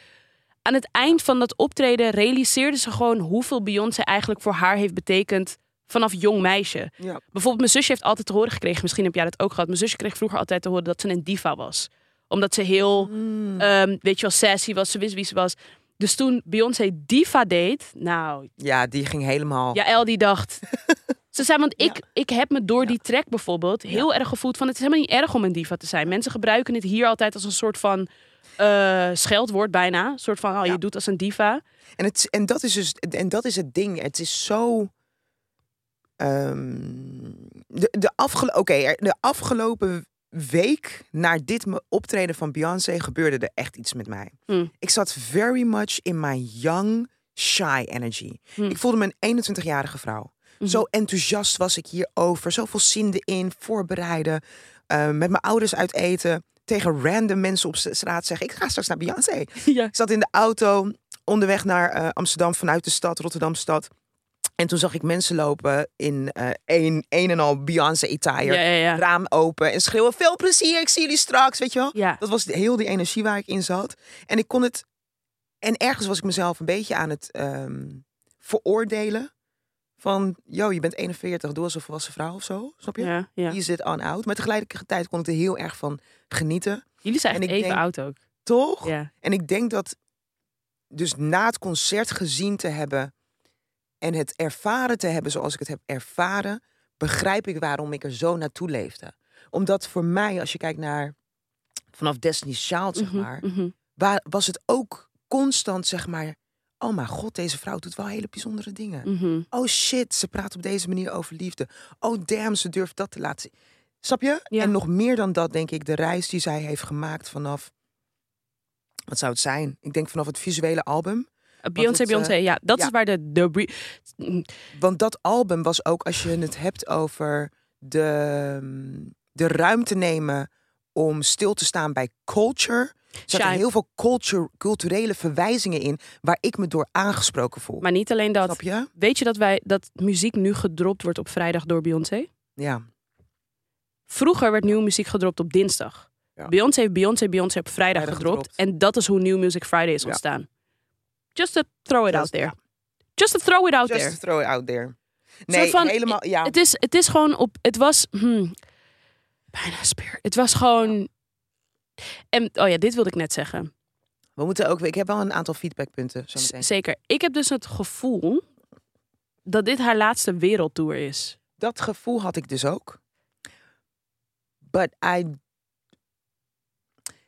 Aan het eind van dat optreden realiseerde ze gewoon... hoeveel Beyoncé eigenlijk voor haar heeft betekend... vanaf jong meisje.
ja.
Bijvoorbeeld mijn zusje heeft altijd te horen gekregen... misschien heb jij dat ook gehad. Mijn zusje kreeg vroeger altijd te horen dat ze een diva was. Omdat ze heel, ehm, weet je wel, sassy was. Ze wist wie ze was. Dus toen Beyoncé diva deed... Nou,
Ja, die ging helemaal.
Jaël die dacht... Ze zei, want
Ja.
ik, ik heb me door
Ja.
die track bijvoorbeeld heel erg gevoeld van... het is helemaal niet erg om een diva te zijn. Mensen gebruiken het hier altijd als een soort van eh, scheldwoord bijna. Een soort van, oh,
Ja.
je doet als een diva.
En, het, en, dat is dus, en dat is het ding. Het is zo. ehm, de, de, afgelo oké, er- de afgelopen week naar dit me- optreden van Beyoncé gebeurde er echt iets met mij.
Hmm.
Ik zat very much in my young, shy energy.
Hmm. Mhm.
Ik voelde me een 21-jarige vrouw. Zo enthousiast was ik hierover. Zoveel zin erin, voorbereiden. eh, met mijn ouders uit eten. Tegen random mensen op s- straat zeggen: Ik ga straks naar Beyoncé.
ja.
Ik zat in de auto onderweg naar eh, Amsterdam vanuit de stad, Rotterdamstad. En toen zag ik mensen lopen in eh een, een en al Beyoncé
Ja,
attire.
ja, ja.
Raam open en schreeuwen, veel plezier, ik zie jullie straks, weet je wel.
Ja.
Dat was heel die energie waar ik in zat. En ik kon het... En ergens was ik mezelf een beetje aan het ehm, veroordelen. Van, yo, je bent 41, doe als een volwassen vrouw of zo, snap je?
Ja, ja.
Hier zit on out. Maar tegelijkertijd kon ik er heel erg van genieten.
Jullie zijn
En
echt
ik
even
denk-
oud ook.
Toch?
Ja.
En ik denk dat dus na het concert gezien te hebben en het ervaren te hebben zoals ik het heb ervaren, begrijp ik waarom ik er zo naartoe leefde. Omdat voor mij, als je kijkt naar vanaf Destiny's Child, zeg
Mhm,
maar,
mhm.
wa- was het ook constant, zeg maar, oh mijn god, deze vrouw doet wel hele bijzondere dingen.
Mhm.
Oh shit, ze praat op deze manier over liefde. Oh damn, ze durft dat te laten zien. Snap je?
Ja.
En nog meer dan dat, denk ik, de reis die zij heeft gemaakt vanaf. Wat zou het zijn? Ik denk vanaf het visuele album.
Beyoncé,
het, eh,
Beyoncé, ja. Dat
ja.
is waar de... de bre-
Want dat album was ook, als je het hebt over de, de ruimte nemen om stil te staan bij culture. Er zaten
Shy.
heel veel culture, culturele verwijzingen in waar ik me door aangesproken voel.
Maar niet alleen dat.
Snap je?
Weet je dat, wij, dat muziek nu gedropt wordt op vrijdag door Beyoncé?
Ja.
Vroeger werd nieuwe muziek gedropt op dinsdag.
Ja.
Beyoncé heeft Beyoncé, Beyoncé op
Vrijdag
vrijdag, gedropt.
gedropt.
En dat is hoe New Music Friday is
Ja.
ontstaan. Just to throw it
Just-
out there.
ja.
Just to throw it out
Just
there.
to throw it out there. Nee,
van-
helemaal. Ja.
Het is, het is gewoon op. Het was. hmm, bijna speer. Het was gewoon. En, oh ja, dit wilde ik net zeggen.
We moeten ook. Ik heb wel een aantal feedbackpunten. Zo
Z-
meteen.
zeker. Ik heb dus het gevoel dat dit haar laatste wereldtour is.
Dat gevoel had ik dus ook. But I.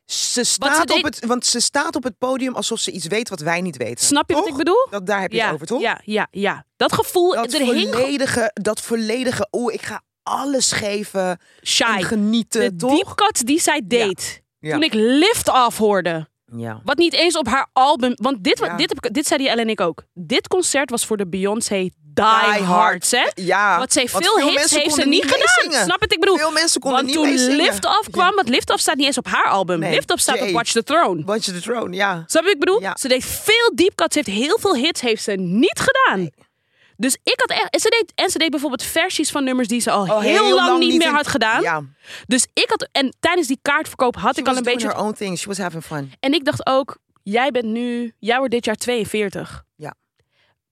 Ze staat,
deed-
op het, want ze staat op het podium alsof ze iets weet wat wij niet weten.
Snap je
toch?
wat ik bedoel?
Dat, daar heb je
ja,
het over, toch?
ja, ja, ja. Dat gevoel.
dat,
er hing gewoon
volledige, dat volledige, oeh, ik ga alles geven en
shy.
genieten,
De
toch?
diepkat die zij deed.
Ja.
Toen ik lift af hoorde.
Ja.
Wat niet eens op haar album. Want dit, wa-
Ja.
dit, heb ik- dit zei die Ellen en ik ook. Dit concert was voor de Beyoncé die,
hard.
hards, hè?
ja.
Want ze heeft veel, hits
mensen
heeft ze
konden
niet gedaan.
meezingen.
Snap het? Ik bedoel,
Veel mensen konden
want
niet
toen
meezingen.
Lift Off kwam, want Lift Off staat niet eens op haar album.
Nee,
Lift Off staat op
Jay.
Watch the Throne.
Watch the Throne, ja.
Snap je wat ik bedoel?
Ja.
Ze deed veel diepkat, ze heeft heel veel hits, heeft ze niet gedaan. Dus ik had echt... En ze, deed, en ze deed bijvoorbeeld versies van nummers die ze al heel,
Oh,
lang, niet meer
in-
had gedaan.
Ja.
Dus ik had... En tijdens die kaartverkoop had
She
ik al
was
een
doing
beetje...
her own thing. She was having fun.
En ik dacht ook, jij bent nu, jij wordt dit jaar 42.
Ja.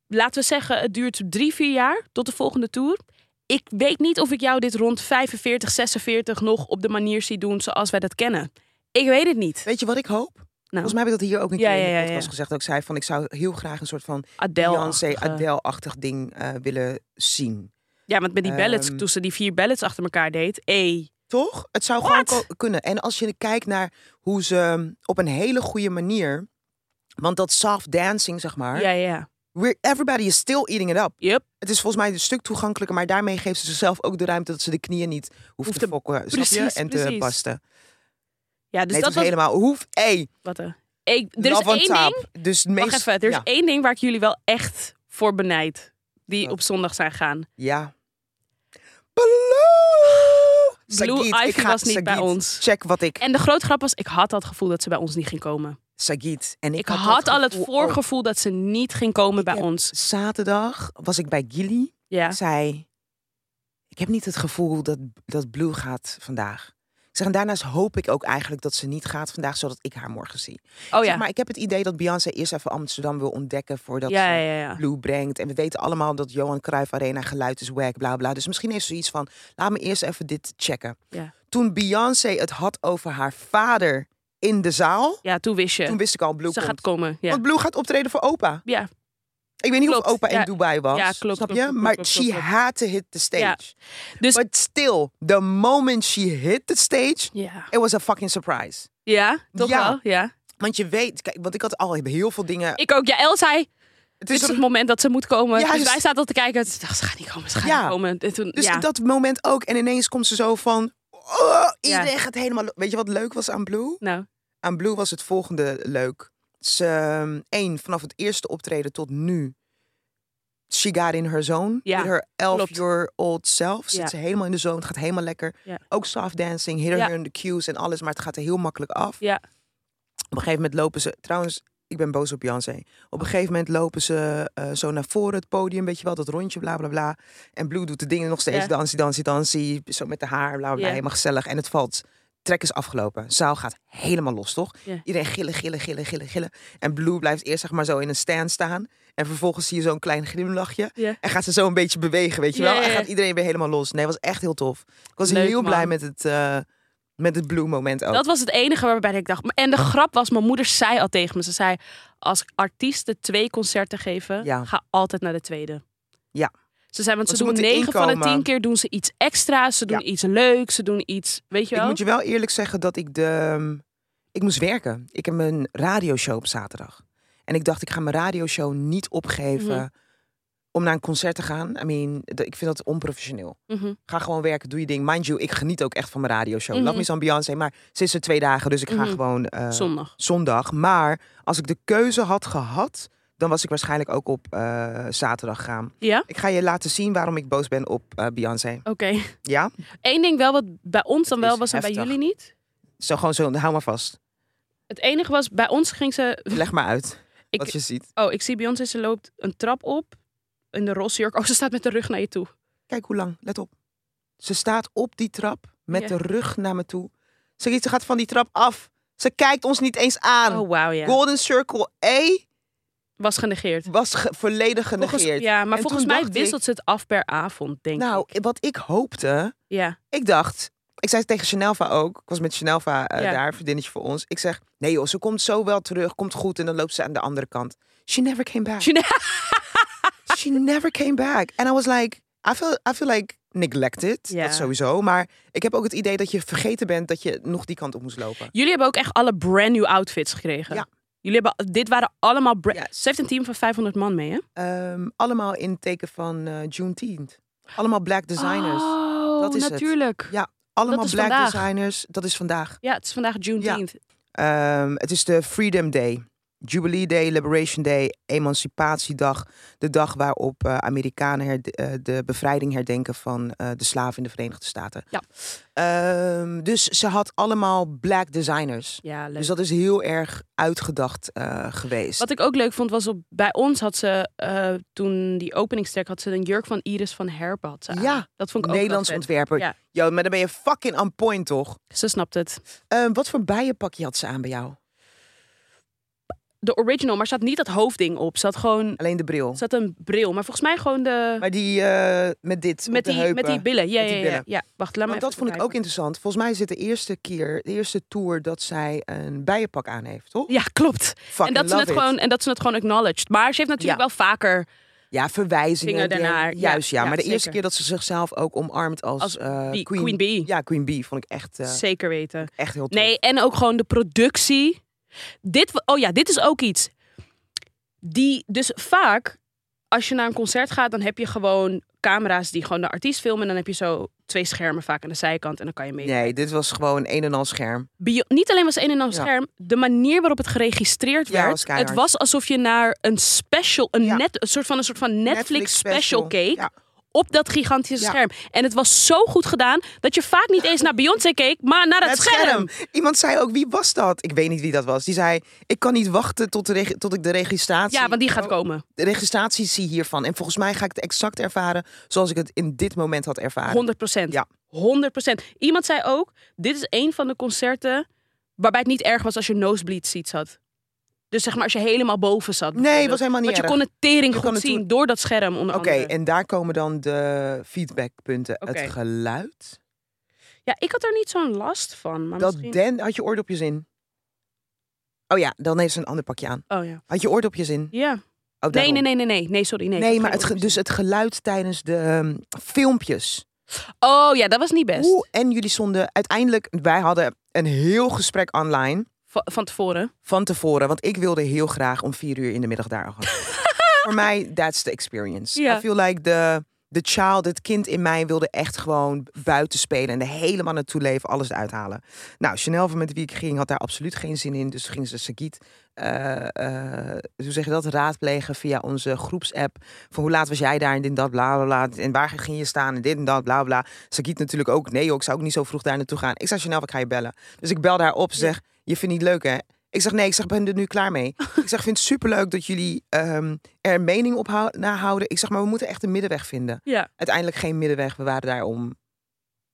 Laten we zeggen, het duurt drie, vier jaar tot de volgende tour. Ik weet niet of ik jou dit rond 45, 46 nog op de manier zie doen zoals wij dat kennen. Ik weet het niet. Nou,
Weet je wat ik hoop? Volgens mij heb ik dat hier ook een
Ja,
keer in de
ja, ja,
podcast
ja.
gezegd. Dat ik zei van ik zou heel graag een soort van
Adele.
Beyoncé, Adele-achtig ding eh, willen zien.
Ja, want met die ballads,
Ehm.
toen ze die vier ballads achter elkaar deed. Ey,
Toch? Het zou gewoon
What?
ko- kunnen. En als je kijkt naar hoe ze um, op een hele goede manier... Want dat soft dancing, zeg maar.
ja, ja, ja.
We're, everybody is still eating it up.
Yup.
Het is volgens mij een stuk toegankelijker. Maar daarmee geeft ze zichzelf ook de ruimte dat ze de knieën niet hoeft,
Hoeft
te
te-
fokken. snap je?
precies,
En te
precies.
basten.
Ja, dus
nee,
dat
het
was...
was helemaal... Hoef, hey,
Wat, eh, ik, er is
love on
één ding...
top. Dus meest,
Wacht even, er is
ja.
één ding waar ik jullie wel echt voor benijd. Die
Wat?
op zondag zijn gaan.
Ja. Blue!
Blue
Sagit,
Ivy was niet bij ons.
Check wat ik.
En de grote grap was, ik had dat gevoel dat ze bij ons niet ging komen.
Sagit. En ik,
Ik, had
dat
al het
gevoel ook.
voorgevoel dat ze niet ging komen bij
heb-
ons.
Zaterdag was ik bij Gilly.
Ja.
Ik zei: Ik heb niet het gevoel dat, dat Blue gaat vandaag. Ik zeg, en daarnaast hoop ik ook eigenlijk dat ze niet gaat vandaag, zodat ik haar morgen zie.
Oh
Zeg
ja.
maar ik heb het idee dat Beyoncé eerst even Amsterdam wil ontdekken voordat
Ja,
ze
ja, ja.
Blue brengt. En we weten allemaal dat Johan Cruijff Arena geluid is wack, bla bla. Dus misschien heeft ze iets van, laat me eerst even dit checken.
Ja.
Toen Beyoncé het had over haar vader in de zaal,
Ja, toen wist je.
toen wist ik al, Blue
ze
komt.
gaat komen. Ja.
Want Blue gaat optreden voor opa.
ja.
Ik weet niet of
Klopt,
opa in
ja.
Dubai was.
Ja, klopt, klopt,
Snap je?
klopt, klopt,
maar
klopt,
she
klopt, klopt.
had to hit the stage.
Ja. Dus-
But still, the moment she hit the stage,
Ja.
it was a fucking surprise.
Ja, toch
Ja.
wel? Ja.
Want je weet, kijk, want ik had al heel veel dingen.
Ik ook. Ja, El zei,
het
dit
is
is
een-
het moment dat ze moet komen.
Ja,
dus
dus-
wij zaten al te kijken. Ze dacht, ze gaat niet komen, ze gaat
Ja.
niet komen. En toen,
dus
ja.
in dat moment ook. En ineens komt ze zo van. Oh,
Ja.
iedereen gaat helemaal. lo- Weet je wat leuk was aan Blue?
Nou,
Aan Blue was het volgende leuk. Ze, ehm, één, vanaf het eerste optreden tot nu. She got in her zone.
Ja,
With her
klopt.
elf-year-old self. Zit
Ja.
ze helemaal in de zone. Het gaat helemaal lekker.
Ja.
Ook soft dancing. Hit
Ja.
her in the cues en alles. Maar het gaat er heel makkelijk af.
ja.
Op een gegeven moment lopen ze. Trouwens, ik ben boos op Beyoncé. Op een gegeven moment lopen ze eh, zo naar voren het podium. Weet je wel, dat rondje, bla bla bla. En Blue doet de dingen nog steeds.
Ja.
Dansie, dansie, dansie. Zo met de haar, bla bla, bla.
Ja.
Helemaal gezellig. En het valt. Trek is afgelopen. Zaal gaat helemaal los, toch?
Ja.
Iedereen gillen, gillen, gillen, gillen, gillen. En Blue blijft eerst zeg maar zo in een stand staan. En vervolgens zie je zo'n klein glimlachje.
Ja.
En gaat ze zo een beetje bewegen, weet je
Ja,
wel.
ja,
En
ja.
gaat iedereen weer helemaal los. Nee, was echt heel tof. Ik was
Leuk,
heel blij
man.
met het, eh, met het Blue moment ook.
Dat was het enige waarbij ik dacht. En de
Oh.
grap was, mijn moeder zei al tegen me. Ze zei, als artiesten twee concerten geven,
Ja.
ga altijd naar de tweede.
Ja.
Ze zei,
Want
want ze,
ze
doen
moeten
negen van de
inkomen.
tien keer doen ze iets extra's. Ze doen
Ja.
iets leuks, ze doen iets, weet je
Ik
wel?
moet je wel eerlijk zeggen dat ik de... ehm, Ik moest werken. Ik heb een radioshow op zaterdag. En ik dacht, ik ga mijn radioshow niet opgeven
Mhm.
om naar een concert te gaan. I mean, d- ik vind dat onprofessioneel.
Mhm.
Ga gewoon werken, doe je ding. Mind you, ik geniet ook echt van mijn radioshow.
Mhm.
Love me some Beyoncé, maar ze is er twee dagen, dus ik ga
Mhm.
gewoon eh,
Zondag.
zondag. Maar als ik de keuze had gehad, dan was ik waarschijnlijk ook op eh, zaterdag gaan.
Ja?
Ik ga je laten zien waarom ik boos ben op eh, Beyoncé.
Oké.
Ja?
Eén ding wel wat bij ons dan
Het
wel
is
was en bij
heftig.
jullie niet.
Zo gewoon zo, hou maar vast.
Het enige was, bij ons ging ze...
Leg maar uit
Ik,
wat je ziet.
Oh, ik zie Beyoncé, ze loopt een trap op in de rosjurk. Oh, ze staat met de rug naar je toe.
Kijk hoe lang, let op. Ze staat op die trap met
Ja.
de rug naar me toe. Ze, ze gaat van die trap af. Ze kijkt ons niet eens aan.
Oh, wauw, ja.
Golden Circle A
Was genegeerd.
was ge- volledig genegeerd.
Volgens, ja, maar
En
volgens
toen
mij
dacht ik-
wisselt ze het af per avond, denk
nou,
ik.
wat ik hoopte,
Ja,
ik dacht. Ik zei tegen Chanelva ook. Ik was met Chanelva eh,
Ja.
daar, een vriendinnetje voor ons. Ik zeg, nee joh, ze komt zo wel terug, komt goed. En dan loopt ze aan de andere kant. She never came back.
She
She never came back. And I was like, I feel, I feel like neglected.
Ja.
Dat sowieso. Maar ik heb ook het idee dat je vergeten bent dat je nog die kant op moest lopen.
Jullie hebben ook echt alle brand new outfits gekregen.
Ja.
Jullie hebben, dit waren allemaal... bra-
Ja.
Ze heeft een team van 500 man mee, hè?
Ehm, allemaal in het teken van eh Juneteenth. Allemaal black designers.
Oh,
Dat is het.
natuurlijk.
Ja, Allemaal
dat is
black
vandaag.
designers. Dat is vandaag.
Ja, het is vandaag Juneteenth.
Ehm, het is de Freedom Day. Jubilee Day, Liberation Day, Emancipatiedag. De dag waarop eh, Amerikanen herde- eh, de bevrijding herdenken van eh, de slaven in de Verenigde Staten.
Ja.
Ehm, dus ze had allemaal black designers.
Ja, leuk.
Dus dat is heel erg uitgedacht eh, geweest.
Wat ik ook leuk vond was op, bij ons had ze eh, toen die openingstrek had ze een jurk van Iris van Herpen had ze aan.
Ja,
dat vond ik ook wel
Nederlands
vet.
ontwerper.
Ja.
Yo, maar dan ben je fucking on point, toch?
Ze snapt het.
Eh, wat voor bijenpakje had ze aan bij jou?
De original, maar ze had niet dat hoofdding op. Ze had gewoon
Alleen de bril.
ze had een bril, maar volgens mij gewoon de
Maar die eh, met dit op
met
de
die
heupen.
met die billen. Ja,
Met die
ja, ja,
billen.
ja. Wacht, laat me
Want dat vond ik ook interessant. Volgens mij is dit de eerste keer, de eerste tour dat zij een bijenpak aan heeft, toch?
Ja, klopt.
Fucking
en dat ze
love
het
it.
gewoon en dat ze het gewoon acknowledged. Maar ze heeft natuurlijk
Ja.
wel vaker
Ja, verwijzingen.
Gingen
der-
daarnaar. Ja,
Juist, ja.
ja,
maar de eerste
zeker.
keer dat ze zichzelf ook omarmt als,
Als
eh,
Bee- Queen Bee.
Ja, Queen Bee vond ik echt, eh,
zeker weten.
echt heel tof.
Nee, en ook gewoon de productie. Dit, wa- oh ja, dit is ook iets. Die, dus vaak, als je naar een concert gaat, dan heb je gewoon camera's die gewoon de artiest filmen. En dan heb je zo twee schermen vaak aan de zijkant en dan kan je mee.
Nee, dit was gewoon een en al scherm.
Bio- niet alleen was het een en ander
Ja.
scherm, de manier waarop het geregistreerd
Ja,
werd.
was keihard.
het was alsof je naar een special, een,
Ja.
net, een soort van een soort van Netflix, special keek.
Ja,
Op dat gigantische
Ja.
scherm. En het was zo goed gedaan dat je vaak niet eens naar Beyoncé keek, maar naar het,
het scherm. Iemand zei ook, wie was dat? Ik weet niet wie dat was. Die zei, ik kan niet wachten tot, de reg- tot ik de registratie...
Ja, want die gaat
Oh,
komen.
De registratie zie hiervan. En volgens mij ga ik het exact ervaren zoals ik het in dit moment had ervaren.
100 procent.
Ja.
100 Iemand zei ook, dit is een van de concerten waarbij het niet erg was als je nosebleed seats had. Dus zeg maar als je helemaal boven zat.
Nee,
bijvoorbeeld.
was helemaal niet
Want je
erg.
kon het tering
Je kon
goed
het
zien
toen-
door dat scherm onder
Oké,
andere.
en daar komen dan de feedbackpunten.
Oké.
Het geluid.
Ja, ik had er niet zo'n last van. Maar
Dat
Ah, misschien...
den had je oordopjes in. Oh ja, dan heeft ze een ander pakje aan.
Oh ja.
Had je oordopjes in?
Ja.
Oh,
Nee,
daarom.
nee, nee, nee, nee, nee, sorry. Nee,
Nee,
ik had
maar
geen
het, ge-
oortjes
dus het geluid tijdens de ehm, filmpjes.
in. Oh ja, dat was niet best.
Hoe, en jullie stonden uiteindelijk... Wij hadden een heel gesprek online
Va- van tevoren.
van tevoren. Want ik wilde heel graag om vier uur in de middag daar. Voor mij, that's the experience.
Ja.
I feel like the, the child, het kind in mij wilde echt gewoon buiten spelen. En er helemaal naartoe leven, alles eruit halen. Nou, Chanel van met wie ik ging had daar absoluut geen zin in. Dus ging ze Sagiet, eh, eh, hoe zeg je dat, raadplegen via onze groepsapp. Van hoe laat was jij daar en dit en dat, bla bla bla. En waar ging je staan en dit en dat, bla bla. Sagiet natuurlijk ook, nee joh, ik zou ook niet zo vroeg daar naartoe gaan. Ik zei, Chanel, ik ga je bellen. Dus ik belde haar op, ze zegt, je vindt niet leuk hè? Ik zeg, nee, ik zeg, ben er nu klaar mee. ik zeg, vind het superleuk dat jullie ehm, er mening op hou- na houden. Ik zeg, maar we moeten echt een middenweg vinden.
Ja,
Uiteindelijk geen middenweg, we waren daar om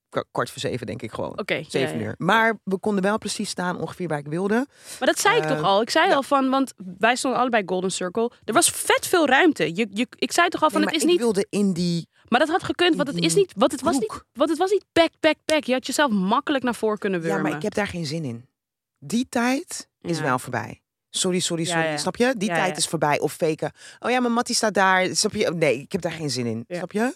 k- kwart voor zeven denk ik gewoon.
oké. ja,
Zeven
ja.
uur. Maar we konden wel precies staan ongeveer waar ik wilde.
Maar dat zei ik toch
Eh,
al. Ik zei
ja.
al van, want wij stonden allebei Golden Circle. Er was vet veel ruimte. Je, je, ik zei toch al van,
Nee, maar
het is
ik Mm.
niet...
wilde in die...
Maar dat had gekund, want het is niet... Want het was niet,
Hoek.
want het was niet back, back, back. Je had jezelf makkelijk naar voor kunnen
Ja,
wurmen.
maar ik heb daar geen zin in. Die tijd is
Ja.
wel voorbij. Sorry, sorry,
Ja,
sorry.
ja.
Snap je? Die
Ja,
tijd
ja.
is voorbij. Of faken. Oh ja, maar Mattie staat daar. Snap je? Oh, Nee, ik heb daar geen zin in.
Ja.
Snap je?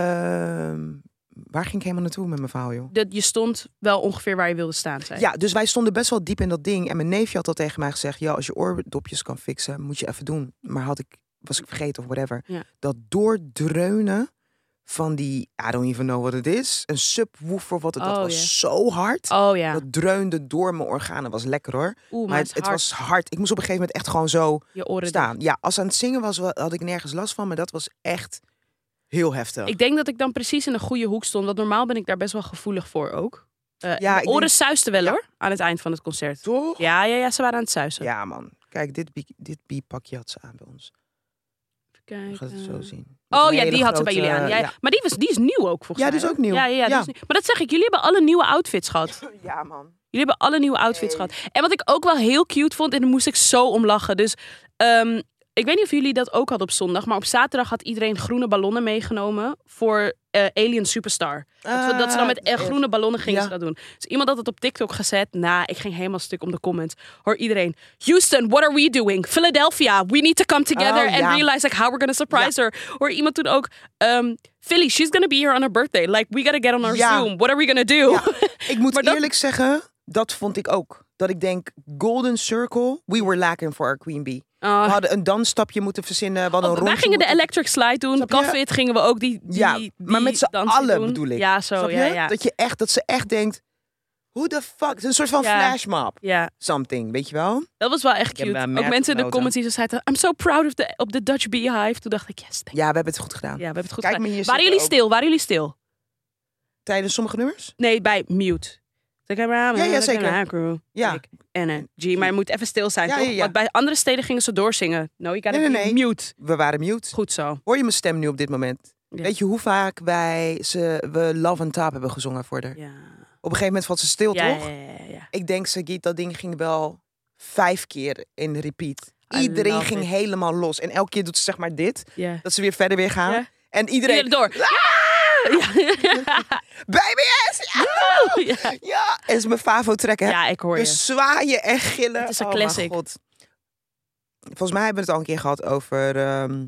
Ehm, waar ging ik helemaal naartoe met mijn verhaal, joh?
dat je stond wel ongeveer waar je wilde staan. Zei.
Ja, dus wij stonden best wel diep in dat ding. En mijn neefje had al tegen mij gezegd: ja, als je oordopjes kan fixen, moet je even doen. Maar had ik, was ik vergeten of whatever.
Ja.
Dat doordreunen van die, I don't even know what it is, een subwoofer, wat het dat
Oh,
was
ja.
zo hard.
Oh ja.
Dat dreunde door mijn organen, was lekker hoor.
Oeh, maar,
maar het, het
hard.
was hard. Ik moest op een gegeven moment echt gewoon zo
je oren dicht.
staan. Ja, als aan het zingen was, wa- had ik nergens last van, maar dat was echt heel heftig.
Ik denk dat ik dan precies in een goede hoek stond. Want normaal ben ik daar best wel gevoelig voor ook. Eh
Ja,
ja,
ik
oren
denk-
suisten wel
Ja.
hoor, aan het eind van het concert.
Toch?
Ja, ja, ja, ze waren aan het suisen.
Ja, man. Kijk, dit, bi- dit biepakje had ze aan bij ons.
Kijk,
Je gaat het
eh.
zo zien.
Oh
Een
ja,
hele
die had ze bij
grote,
jullie aan. Ja,
ja.
Maar die, was, die is nieuw ook volgens
Ja,
mij.
die is
hè?
ook nieuw.
Ja, ja, ja, die
Ja.
is nieuw. Maar dat zeg ik, jullie hebben alle nieuwe outfits gehad.
Ja, man.
Jullie hebben alle nieuwe outfits
Nee.
gehad. En wat ik ook wel heel cute vond, en daar moest ik zo om lachen. Dus ehm, ik weet niet of jullie dat ook hadden op zondag. Maar op zaterdag had iedereen groene ballonnen meegenomen voor eh, Alien Superstar. Dat, we- dat ze dan met eh, groene ballonnen gingen
Ja.
ze dat doen. Dus iemand had het op TikTok gezet. Nou, ik ging helemaal stuk om de comments. Hoor iedereen. Houston, what are we doing? Philadelphia, we need to come together
Oh,
and
ja.
realize like how we're gonna surprise her. Hoor iemand toen ook. ehm, Philly, she's gonna be here on her birthday. Like, we gotta get on our
Ja.
Zoom. What are we gonna do?
Ja. Ik moet
Maar dat-
eerlijk zeggen, dat vond ik ook. Dat ik denk, Golden Circle, we were lacking for our Queen Bee.
Ah.
We hadden een dansstapje moeten verzinnen. We hadden een
Oh, wij
rondje
gingen de
moeten-
electric slide doen.
Snap je?
Kafit gingen we ook die, die
Ja,
die
maar met z'n
dansen
allen
doen.
bedoel ik.
Ja, zo.
Snap je?
Ja, ja.
Dat, je echt, dat ze echt denkt, hoe de fuck? Het is een soort van
Ja.
flashmob.
ja,
Something, weet je wel?
dat was wel echt
heb
cute.
daar
Ook
merk
mensen in de
genoten.
comments die zo zeiden, I'm so proud of the, op de Dutch Beehive. Toen dacht ik, yes, thank
Ja, we hebben het goed gedaan.
Ja, we hebben het goed
Kijk
gedaan.
me hier
Waren
zitten
jullie
ook.
stil? Waren jullie stil?
Tijdens sommige nummers?
Nee, bij mute. Zeg maar,
Ja, ja,
zeg
zeker.
maar, crew.
Ja.
Ik, energy. Maar je moet even stil zijn,
Ja,
toch?
ja, ja.
Want bij andere steden gingen ze doorzingen. No, je gotta
Nee, nee,
be
nee.
mute.
We waren mute.
Goed zo.
Hoor je mijn stem nu op dit moment?
Ja.
Weet je hoe vaak wij ze, we Love on Top hebben gezongen voor haar?
Ja,
Op een gegeven moment valt ze stil,
ja,
toch?
ja, ja, ja.
Ik denk, Sagiet, dat ding ging wel vijf keer in repeat.
I
Iedereen
love
ging
it.
helemaal los. En elke keer doet ze zeg maar dit.
ja.
Dat ze weer verder weer gaan.
Ja.
En iedereen, Ah,
Iedereen door. Ja.
baby yes! Ja!
Ja.
Ja! En is mijn favo trekken.
ja, ik hoor je.
Dus zwaaien en gillen.
Het is een
Oh, mijn
classic.
God. Volgens mij hebben we het al een keer gehad over ehm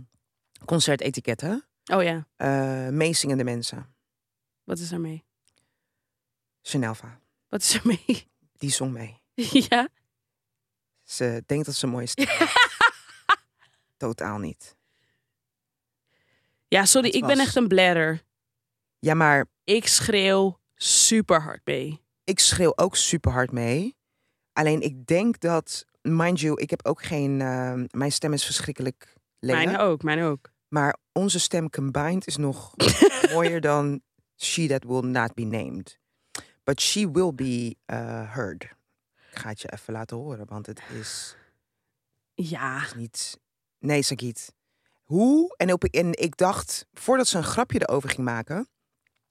concertetiketten.
Oh ja,
Eh meezingende mensen.
wat is er mee?
Chanelva,
Wat is er mee?
die zong mee.
ja?
Ze denkt dat ze mooi is. Totaal niet.
Ja, sorry,
Het
ik ben
was-
echt een bladder.
Ja, maar
Ik schreeuw super hard mee.
ik schreeuw ook super hard mee. Alleen ik denk dat, mind you, ik heb ook geen. ehm, mijn stem is verschrikkelijk
Mijn
leeg.
ook, mijn ook.
Maar onze stem combined is nog mooier dan She That Will Not Be Named. But she will be eh, heard. Ik ga het je even laten horen, want het is
Ja.
niet. Nee, Sagiet. Hoe? En, op, en ik dacht, voordat ze een grapje erover ging maken,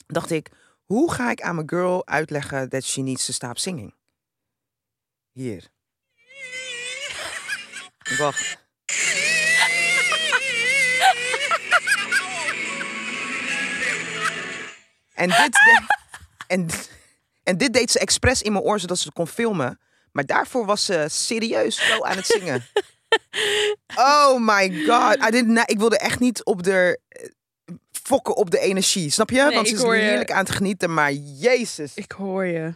dacht ik, hoe ga ik aan mijn girl uitleggen that she needs to stop singing? Hier. Wacht. En dit, de- en, en dit deed ze expres in mijn oor, zodat ze het kon filmen. Maar daarvoor was ze serieus zo aan het zingen. Oh my god. I didn't, ik wilde echt niet op de eh, fokken op de energie. Snap je?
Nee,
Want ze
ik
is
hoor je.
heerlijk aan het genieten. Maar jezus. Nee,
Ik hoor je.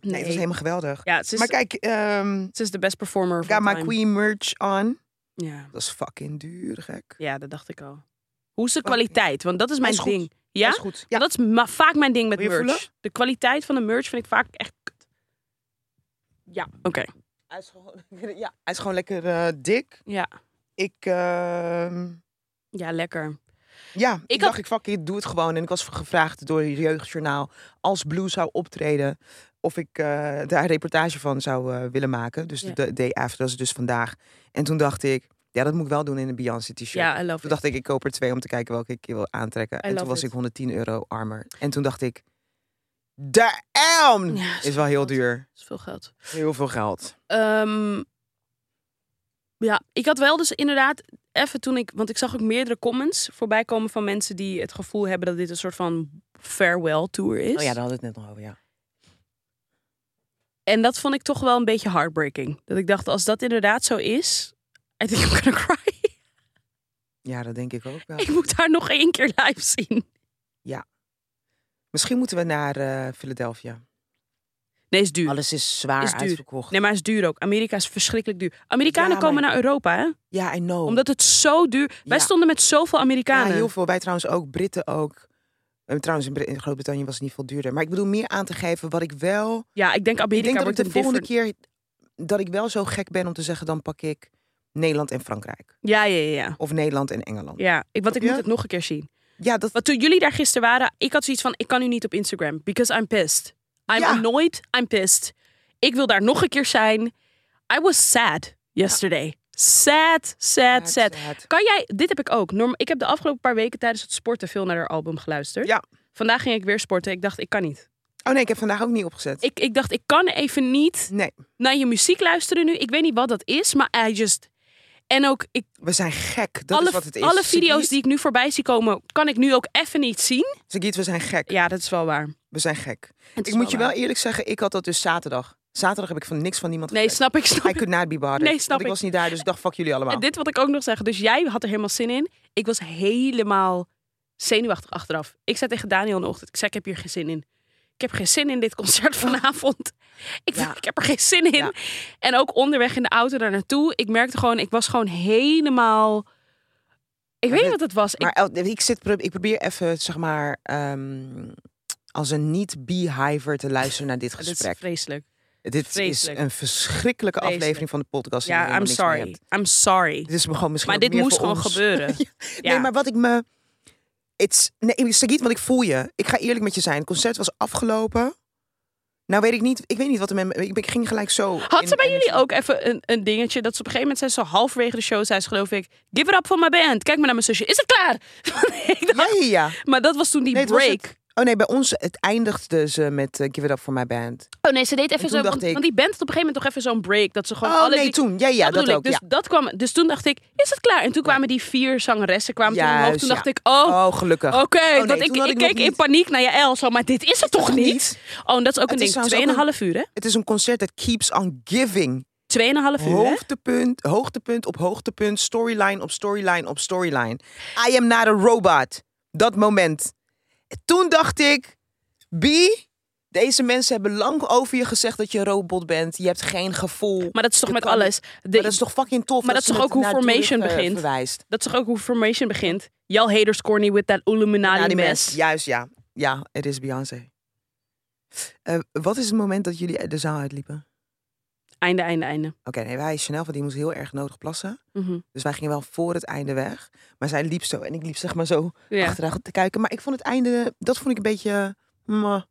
Nee,
het was helemaal geweldig.
ja, dus- ze is,
Maar kijk, ehm
ze is de best performer
ik ga
van
mijn Queen merch on.
Ja.
Dat is fucking duur, gek.
ja, dat dacht ik al. Hoe is de
Fucking-
kwaliteit? Want dat is mijn
Is goed.
ding. Ja?
Dat is goed. Ja,
Dat is ma- vaak mijn ding met
Wil je
merch.
voelen?
De kwaliteit van de merch vind ik vaak echt kut. Ja, oké.
hij, is gewoon, ja. hij is gewoon lekker eh, dik.
Ja.
Ik, ehm,
ja, lekker.
ja, ik,
had-
dacht, ik fuck it, doe het gewoon. En ik was gevraagd door het Jeugdjournaal als Blue zou optreden... of ik eh, daar een reportage van zou eh, willen maken. Dus
Ja.
de, de day after, dat is dus vandaag. En toen dacht ik, ja, dat moet ik wel doen in een Beyoncé-t-shirt.
Ja, I love
Toen
it.
dacht ik, ik koop er twee om te kijken welke ik wil aantrekken. en toen
love
was
it.
ik 110 euro armer. En toen dacht ik, de elm
Ja, dat
is wel heel
geld.
duur.
Dat is veel geld.
Heel veel geld.
Ehm, ja, ik had wel dus inderdaad even toen ik... Want ik zag ook meerdere comments voorbij komen van mensen die het gevoel hebben dat dit een soort van farewell tour is.
Oh ja, daar hadden we het net nog over, ja.
En dat vond ik toch wel een beetje heartbreaking. Dat ik dacht, als dat inderdaad zo is, I think I'm gonna cry.
Ja, dat denk ik ook wel.
Ik moet haar nog één keer live zien.
Misschien moeten we naar eh, Philadelphia.
Nee, is duur.
Alles is zwaar
Is duur.
uitverkocht.
Nee, maar is duur ook. Amerika is verschrikkelijk duur. Amerikanen
Ja, maar-
komen naar Europa, hè?
Ja, I know.
Omdat het zo duur... Wij
Ja.
stonden met zoveel
ja,
Amerikanen.
heel veel. Wij trouwens ook, Britten ook. Eh, Trouwens, in, Brit- in Groot-Brittannië was het niet veel duurder. Maar ik bedoel meer aan te geven wat ik wel...
Ja, ik denk
Ik
Amerika
denk dat ik
wordt
de
een
volgende
different...
keer... dat ik wel zo gek ben om te zeggen... dan pak ik Nederland en Frankrijk.
Ja, ja, ja, ja.
Of Nederland en Engeland.
Ja, ik, want ik
Ja?
moet het nog een keer zien.
Ja, dat...
Want toen jullie daar gisteren waren, ik had zoiets van... Ik kan nu niet op Instagram, because I'm pissed. I'm
Ja.
annoyed, I'm pissed. Ik wil daar nog een keer zijn. I was sad yesterday. Sad, sad,
Ja,
sad.
sad.
Kan jij, dit heb ik ook. Norm, ik heb de afgelopen paar weken tijdens het sporten veel naar haar album geluisterd.
Ja.
Vandaag ging ik weer sporten. Ik dacht, ik kan niet.
Oh nee, ik heb vandaag ook niet opgezet.
Ik, ik dacht, ik kan even niet
Nee,
naar je muziek luisteren nu. Ik weet niet wat dat is, maar I just... En ook, ik,
we zijn gek. Dat
alle,
is wat het is.
alle video's
Sagiet,
die ik nu voorbij zie komen, kan ik nu ook even niet zien.
Sagiet, we zijn gek.
Ja, dat is wel waar.
We zijn gek.
Het is
Ik moet je wel
waar.
eerlijk zeggen, ik had dat dus zaterdag. Zaterdag heb ik van niks van niemand
Nee,
gekregen.
snap ik, snap
I
ik.
could not be bothered.
Nee,
want
snap
ik
ik.
was niet daar, dus ik dacht, fuck jullie allemaal.
Dit wat ik ook nog zeg. Dus jij had er helemaal zin in. Ik was helemaal zenuwachtig achteraf. Ik zei tegen Daniel in de ochtend, ik zei, ik heb hier geen zin in. Ik heb geen zin in dit concert vanavond. Ik,
Ja.
ik heb er geen zin in.
Ja.
En ook onderweg in de auto daar naartoe. Ik merkte gewoon, ik was gewoon helemaal... Ik weet
dit-
niet wat het was. Ik-
Maar el- ik, zit, pro- ik probeer even, zeg maar, ehm, als een niet-beehiver te luisteren naar dit
dat is
gesprek.
vreselijk.
dit
vreselijk.
is een verschrikkelijke
Vreselijk.
aflevering van de podcast. die
Ja,
helemaal
I'm
niks meer
sorry.
hebt.
I'm sorry.
Dit is me gewoon misschien
Maar
ook
dit
meer
moest
voor
gewoon
ons.
gebeuren. Ja.
Nee, maar wat ik me... It's, nee, Sagiet, want ik voel je. Ik ga eerlijk met je zijn. Het concert was afgelopen. Nou weet ik niet, ik weet niet wat er met me... Ik, ben- ik ging gelijk zo...
Had
in dus-
ze bij
energie.
jullie ook even een, een dingetje dat ze op een gegeven moment zijn ze halverwege de show zei ze geloof ik give it up voor mijn band. Kijk maar naar mijn zusje. Is het klaar? Ik dacht-
Ja, ja, ja.
maar dat was toen die
Nee, het was
break.
het- Oh nee, bij ons het eindigde ze met eh, Give It Up For My Band.
Oh nee, ze deed even
toen
zo.
dacht
Want,
ik-
want die band had op een gegeven moment toch even zo'n break dat ze gewoon
oh
alle
nee,
die-
toen. Ja, ja, dat,
bedoel ik.
ook.
Dus
ja.
dat kwam. Dus toen dacht ik is het klaar? En toen kwamen die vier zangeressen kwamen toen omhoog.
Juist,
Toen
ja.
dacht ik oh.
Oh, gelukkig.
Oké,
nee,
want
toen
ik,
had
ik,
ik nog
keek in
niet.
paniek naar je El, zo, maar dit is het toch niet? Oh, en dat is ook
Het
een
is
ding.
trouwens ook
Tweeënhalf uur, hè?
Het is een concert dat keeps on giving.
Tweeënhalf uur, hè?
Hoogtepunt, hoogtepunt op hoogtepunt, storyline op storyline op storyline. I am not a robot. Dat moment. Toen dacht ik, B, deze mensen hebben lang over je gezegd dat je een robot bent. Je hebt geen gevoel.
Maar dat is toch
Je
met
kan-
alles.
Maar
De-
dat is toch fucking tof.
maar dat is
ze
toch
het
ook hoe
naar Durf,
Formation
eh,
begint?
Verwijst.
Dat is toch ook hoe Formation begint? Y'all haters corny with that Illuminati
Naar die
mess.
Juist, ja. Ja, het is Beyoncé. Eh, wat is het moment dat jullie de zaal uitliepen?
Einde, einde, einde.
Oké, nee, wij Chanel, want die moest heel erg nodig plassen.
Mhm.
Dus wij gingen wel voor het einde weg. Maar zij liep zo en ik liep zeg maar zo
Ja.
achteruit te kijken. Maar ik vond het einde, dat vond ik een beetje... mm, eh, meh,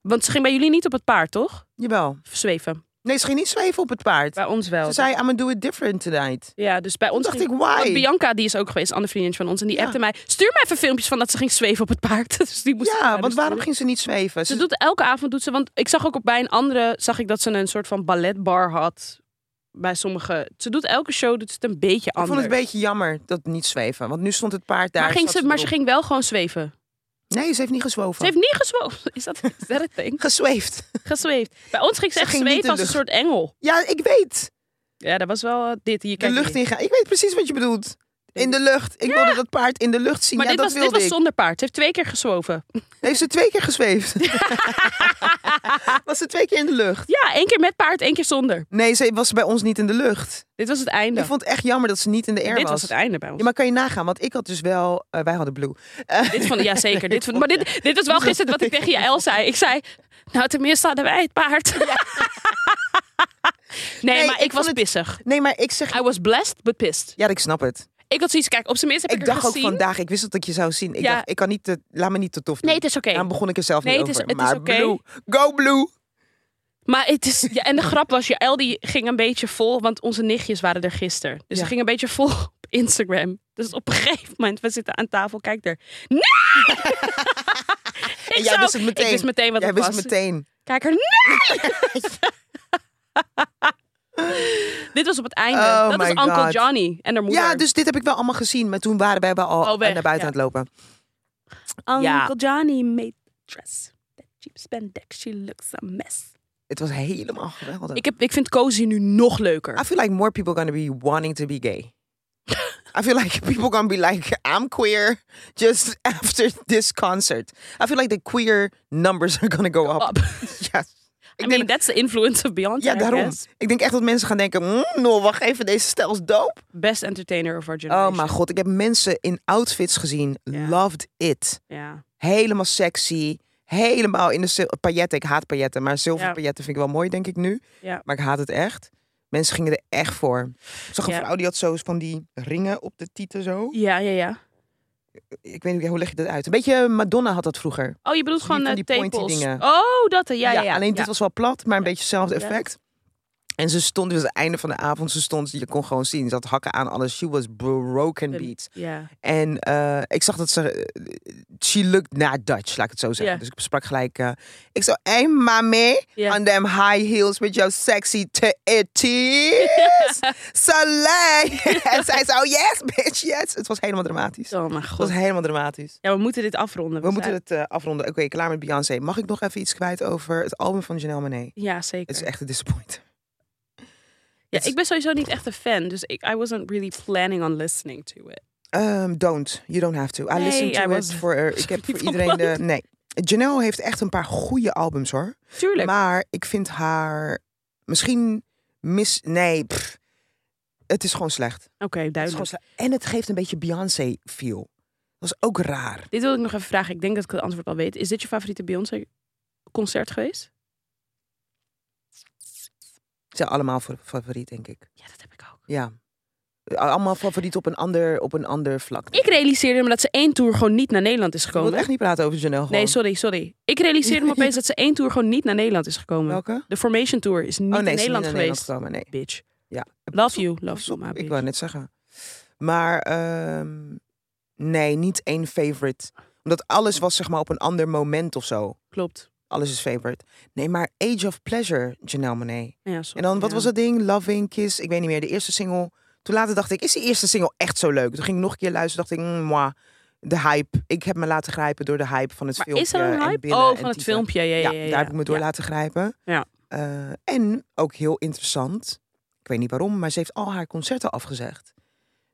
Want ze ging bij jullie niet op het paard, toch?
jawel.
Zweven.
Nee, ze ging niet zweven op het paard.
Bij ons
Ze
wel.
zei, I'm gonna do it different tonight.
Ja, dus bij
Toen
ons
dacht
ging-
ik, why?
Want Bianca, die is ook geweest, een ander vriendinnetje van ons. En die
Ja.
appte mij, stuur mij even filmpjes van dat ze ging zweven op het paard. Dus die moest
ja, want waarom
ging
ging ze niet zweven?
ze... doet elke avond, doet ze, want ik zag ook op, bij een andere, zag ik dat ze een soort van balletbar had. Bij sommige, ze doet elke show, doet ze het een beetje
ik vond
anders.
het een beetje jammer dat niet zweven. Want nu stond het paard daar.
maar ging
zat
ze, maar ze
erop.
ging wel gewoon zweven.
Nee, ze heeft niet gezwoven.
Ze heeft niet gezwoven. Is dat, is dat een thing?
gezweefd.
Gezweefd. Bij ons ging ze,
Ze
echt
ging niet
zweven
de
als een
lucht-
soort engel.
Ja, ik weet.
Ja, dat was wel eh, dit. Hier,
De
kijk
lucht
hier.
ingaan. Ik weet precies wat je bedoelt. In de lucht. Ik wilde dat paard in de lucht zien.
Maar
ja,
dit,
dat
was, dit
wilde
was
ik.
zonder paard. Het heeft twee keer gezwoven.
Heeft ze twee keer gezweefd? was ze twee keer in de lucht?
Ja, één keer met paard, één keer zonder.
Nee, ze was bij ons niet in de lucht.
Dit was het einde.
Ik vond het echt jammer dat ze niet in de air
dit was. het einde bij ons.
Ja, maar kan je nagaan? Want ik had dus wel... eh, wij hadden Blue. Eh,
Dit vond, ja, zeker. Dit vond, maar dit, dit was wel gisteren wat ik tegen je El zei. Ik zei, nou tenminste hadden wij het paard. nee,
Nee,
maar
ik
ik was
vond
pissig.
nee, maar ik zeg...
I was blessed, but pissed.
Ja, ik snap het.
Ik had zoiets, kijk, op zijn minst heb ik,
Ik
er
dacht ook
gezien.
vandaag, ik wist dat ik je zou zien. Ik
Ja.
dacht, ik kan niet te, laat me niet te tof doen.
Nee, het is oké.
Daarom begon ik er zelf
Nee,
niet
het is-
over.
het is
maar
oké.
Blue, go Blue!
Maar het is, ja, en de grap was, je El die ging een beetje vol, want onze nichtjes waren er gisteren. Dus
Ja.
ze ging een beetje vol op Instagram. Dus op een gegeven moment, we zitten aan tafel, kijk er. Nee! ik,
En jij
zou-
wist het meteen.
ik wist meteen wat
Jij
het
wist
was.
meteen.
Kijk er, nee! Dit was op het einde.
Oh
dat is
my
Uncle
God.
Johnny en haar moeder.
Ja, dus dit heb ik wel allemaal gezien. Maar toen waren wij wel al
Oh, weg,
naar buiten
ja.
aan het lopen.
Uncle
Ja.
Johnny made the dress. That cheap spandex, she looks a mess.
Het was helemaal geweldig.
Ik, heb, ik vind Cozy nu nog
I
leuker.
feel like more people gonna be wanting to be gay. I feel like people gonna be like, I'm queer just after this concert. I feel like the queer numbers are gonna go up.
Up.
Yes. Ik
I
denk-
mean, that's the influence of Beyoncé.
ja,
I
daarom.
guess.
Ik denk echt dat mensen gaan denken, mm, nou, wacht even, deze stijl is dope.
Best entertainer of our generation.
Oh mijn god, ik heb mensen in outfits gezien.
Ja.
Loved it.
Ja.
Helemaal sexy. Helemaal in de zil- pailletten. Ik haat pailletten, maar zilver
Ja.
pailletten vind ik wel mooi, denk ik nu.
Ja.
Maar ik haat het echt. Mensen gingen er echt voor. Ik zag een
Ja.
vrouw die had zo van die ringen op de tieten zo.
ja, ja, ja.
Ik weet niet, hoe leg je dat uit? Een beetje Madonna had dat vroeger.
Oh, je bedoelt
Die van
gewoon eh,
die pointy
tepels.
dingen.
Oh, dat. eh, Ja, ja, ja.
alleen
ja.
dit was wel plat, maar een beetje hetzelfde
Ja.
effect. En ze stond, dus het einde van de avond, ze stond, je kon gewoon zien, ze had hakken aan alles. She was broken
Ja.
beat.
Ja. Oh,
En eh, ik zag dat ze. eh, she looked na Dutch, laat ik het zo zeggen.
Ja.
Dus ik sprak gelijk. eh, ik zo, hey mami,
Ja.
on them high heels with your sexy eh, titties. Soleil. en zij zo, yes bitch, yes. Het was helemaal dramatisch.
Oh mijn
Het was
god.
helemaal dramatisch.
Ja, we moeten dit afronden.
We moeten
zijn-
het eh, afronden. Oké, klaar met Beyoncé. Mag ik nog even iets kwijt over het album van Janelle Monáe?
Ja, zeker.
Het is echt een disappointing.
Ja,
Het-
ik ben sowieso niet echt een fan, dus ik, I wasn't really planning on listening to it.
Ehm, don't. You don't have to. I
Nee,
listen
I
to it.
wasn't.
Voor, eh, ik heb voor
Sorry,
iedereen de... Nee. Janelle heeft echt een paar goede albums hoor.
Tuurlijk.
Maar ik vind haar misschien mis. Nee, pff. het is gewoon slecht. Het
Oké,
is gewoon
duidelijk.
slecht. En het geeft een beetje Beyoncé-feel. Dat is ook raar.
Dit wil ik nog even vragen. Ik denk dat ik het antwoord al weet. Is dit je favoriete Beyoncé-concert geweest?
Ze zijn allemaal fa- favoriet, denk ik.
Ja, dat heb ik ook.
Ja. Allemaal favoriet op een ander, op een ander vlak.
Ik realiseerde me dat ze één tour gewoon niet naar Nederland is
Ik wil
gekomen.
echt niet praten over Janelle.
Nee,
gewoon.
sorry, sorry. Ik realiseerde me opeens dat ze één tour gewoon niet naar Nederland is gekomen.
Welke?
De Formation Tour is niet
oh nee,
in
ze is niet
Nederland
naar Nederland
geweest.
gekomen. Nee.
Bitch.
Ja.
Love you, love you, my
Ik
bitch.
wou net zeggen. Maar ehm, nee, niet één favorite. Omdat alles was zeg maar op een ander moment of zo.
Klopt.
Alles is favorite. Nee, maar Age of Pleasure, Janelle Monáe.
Ja, sorry,
En dan, wat
ja.
was dat ding? Loving Kiss, ik weet niet meer, de eerste single. Toen later dacht ik, is die eerste single echt zo leuk? Toen ging ik nog een keer luisteren, dacht ik, mm, moi, de hype. Ik heb me laten grijpen door de hype van het
Maar
filmpje.
is er een
en
hype?
binnen
Oh,
en
van het
tieten.
filmpje. Ja, ja,
Ja,
ja, ja,
daar heb ik me door
ja.
laten grijpen.
Ja.
Eh, en, ook heel interessant, ik weet niet waarom, maar ze heeft al haar concerten afgezegd.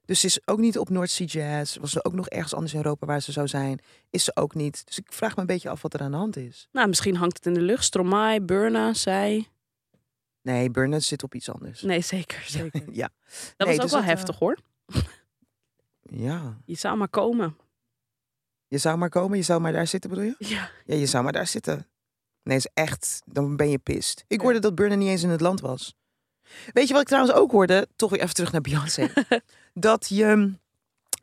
Dus ze is ook niet op North Sea Jazz. Was ze ook nog ergens anders in Europa waar ze zou zijn? Is ze ook niet. Dus ik vraag me een beetje af wat er aan de hand is.
Nou, misschien hangt het in de lucht. Stromae, Burna, zij.
Nee, Burnett zit op iets anders.
Nee, zeker, zeker.
Ja.
Dat
Nee,
was ook
dus
wel
dat, eh,
heftig hoor.
Ja.
Je zou maar komen.
Je zou maar komen, je zou maar daar zitten, bedoel je?
Ja.
Ja, je zou maar daar zitten. Nee, is echt, dan ben je pist. Ik
Ja.
hoorde dat Burner niet eens in het land was. Weet je wat ik trouwens ook hoorde? Toch weer even terug naar Beyoncé. dat je mm,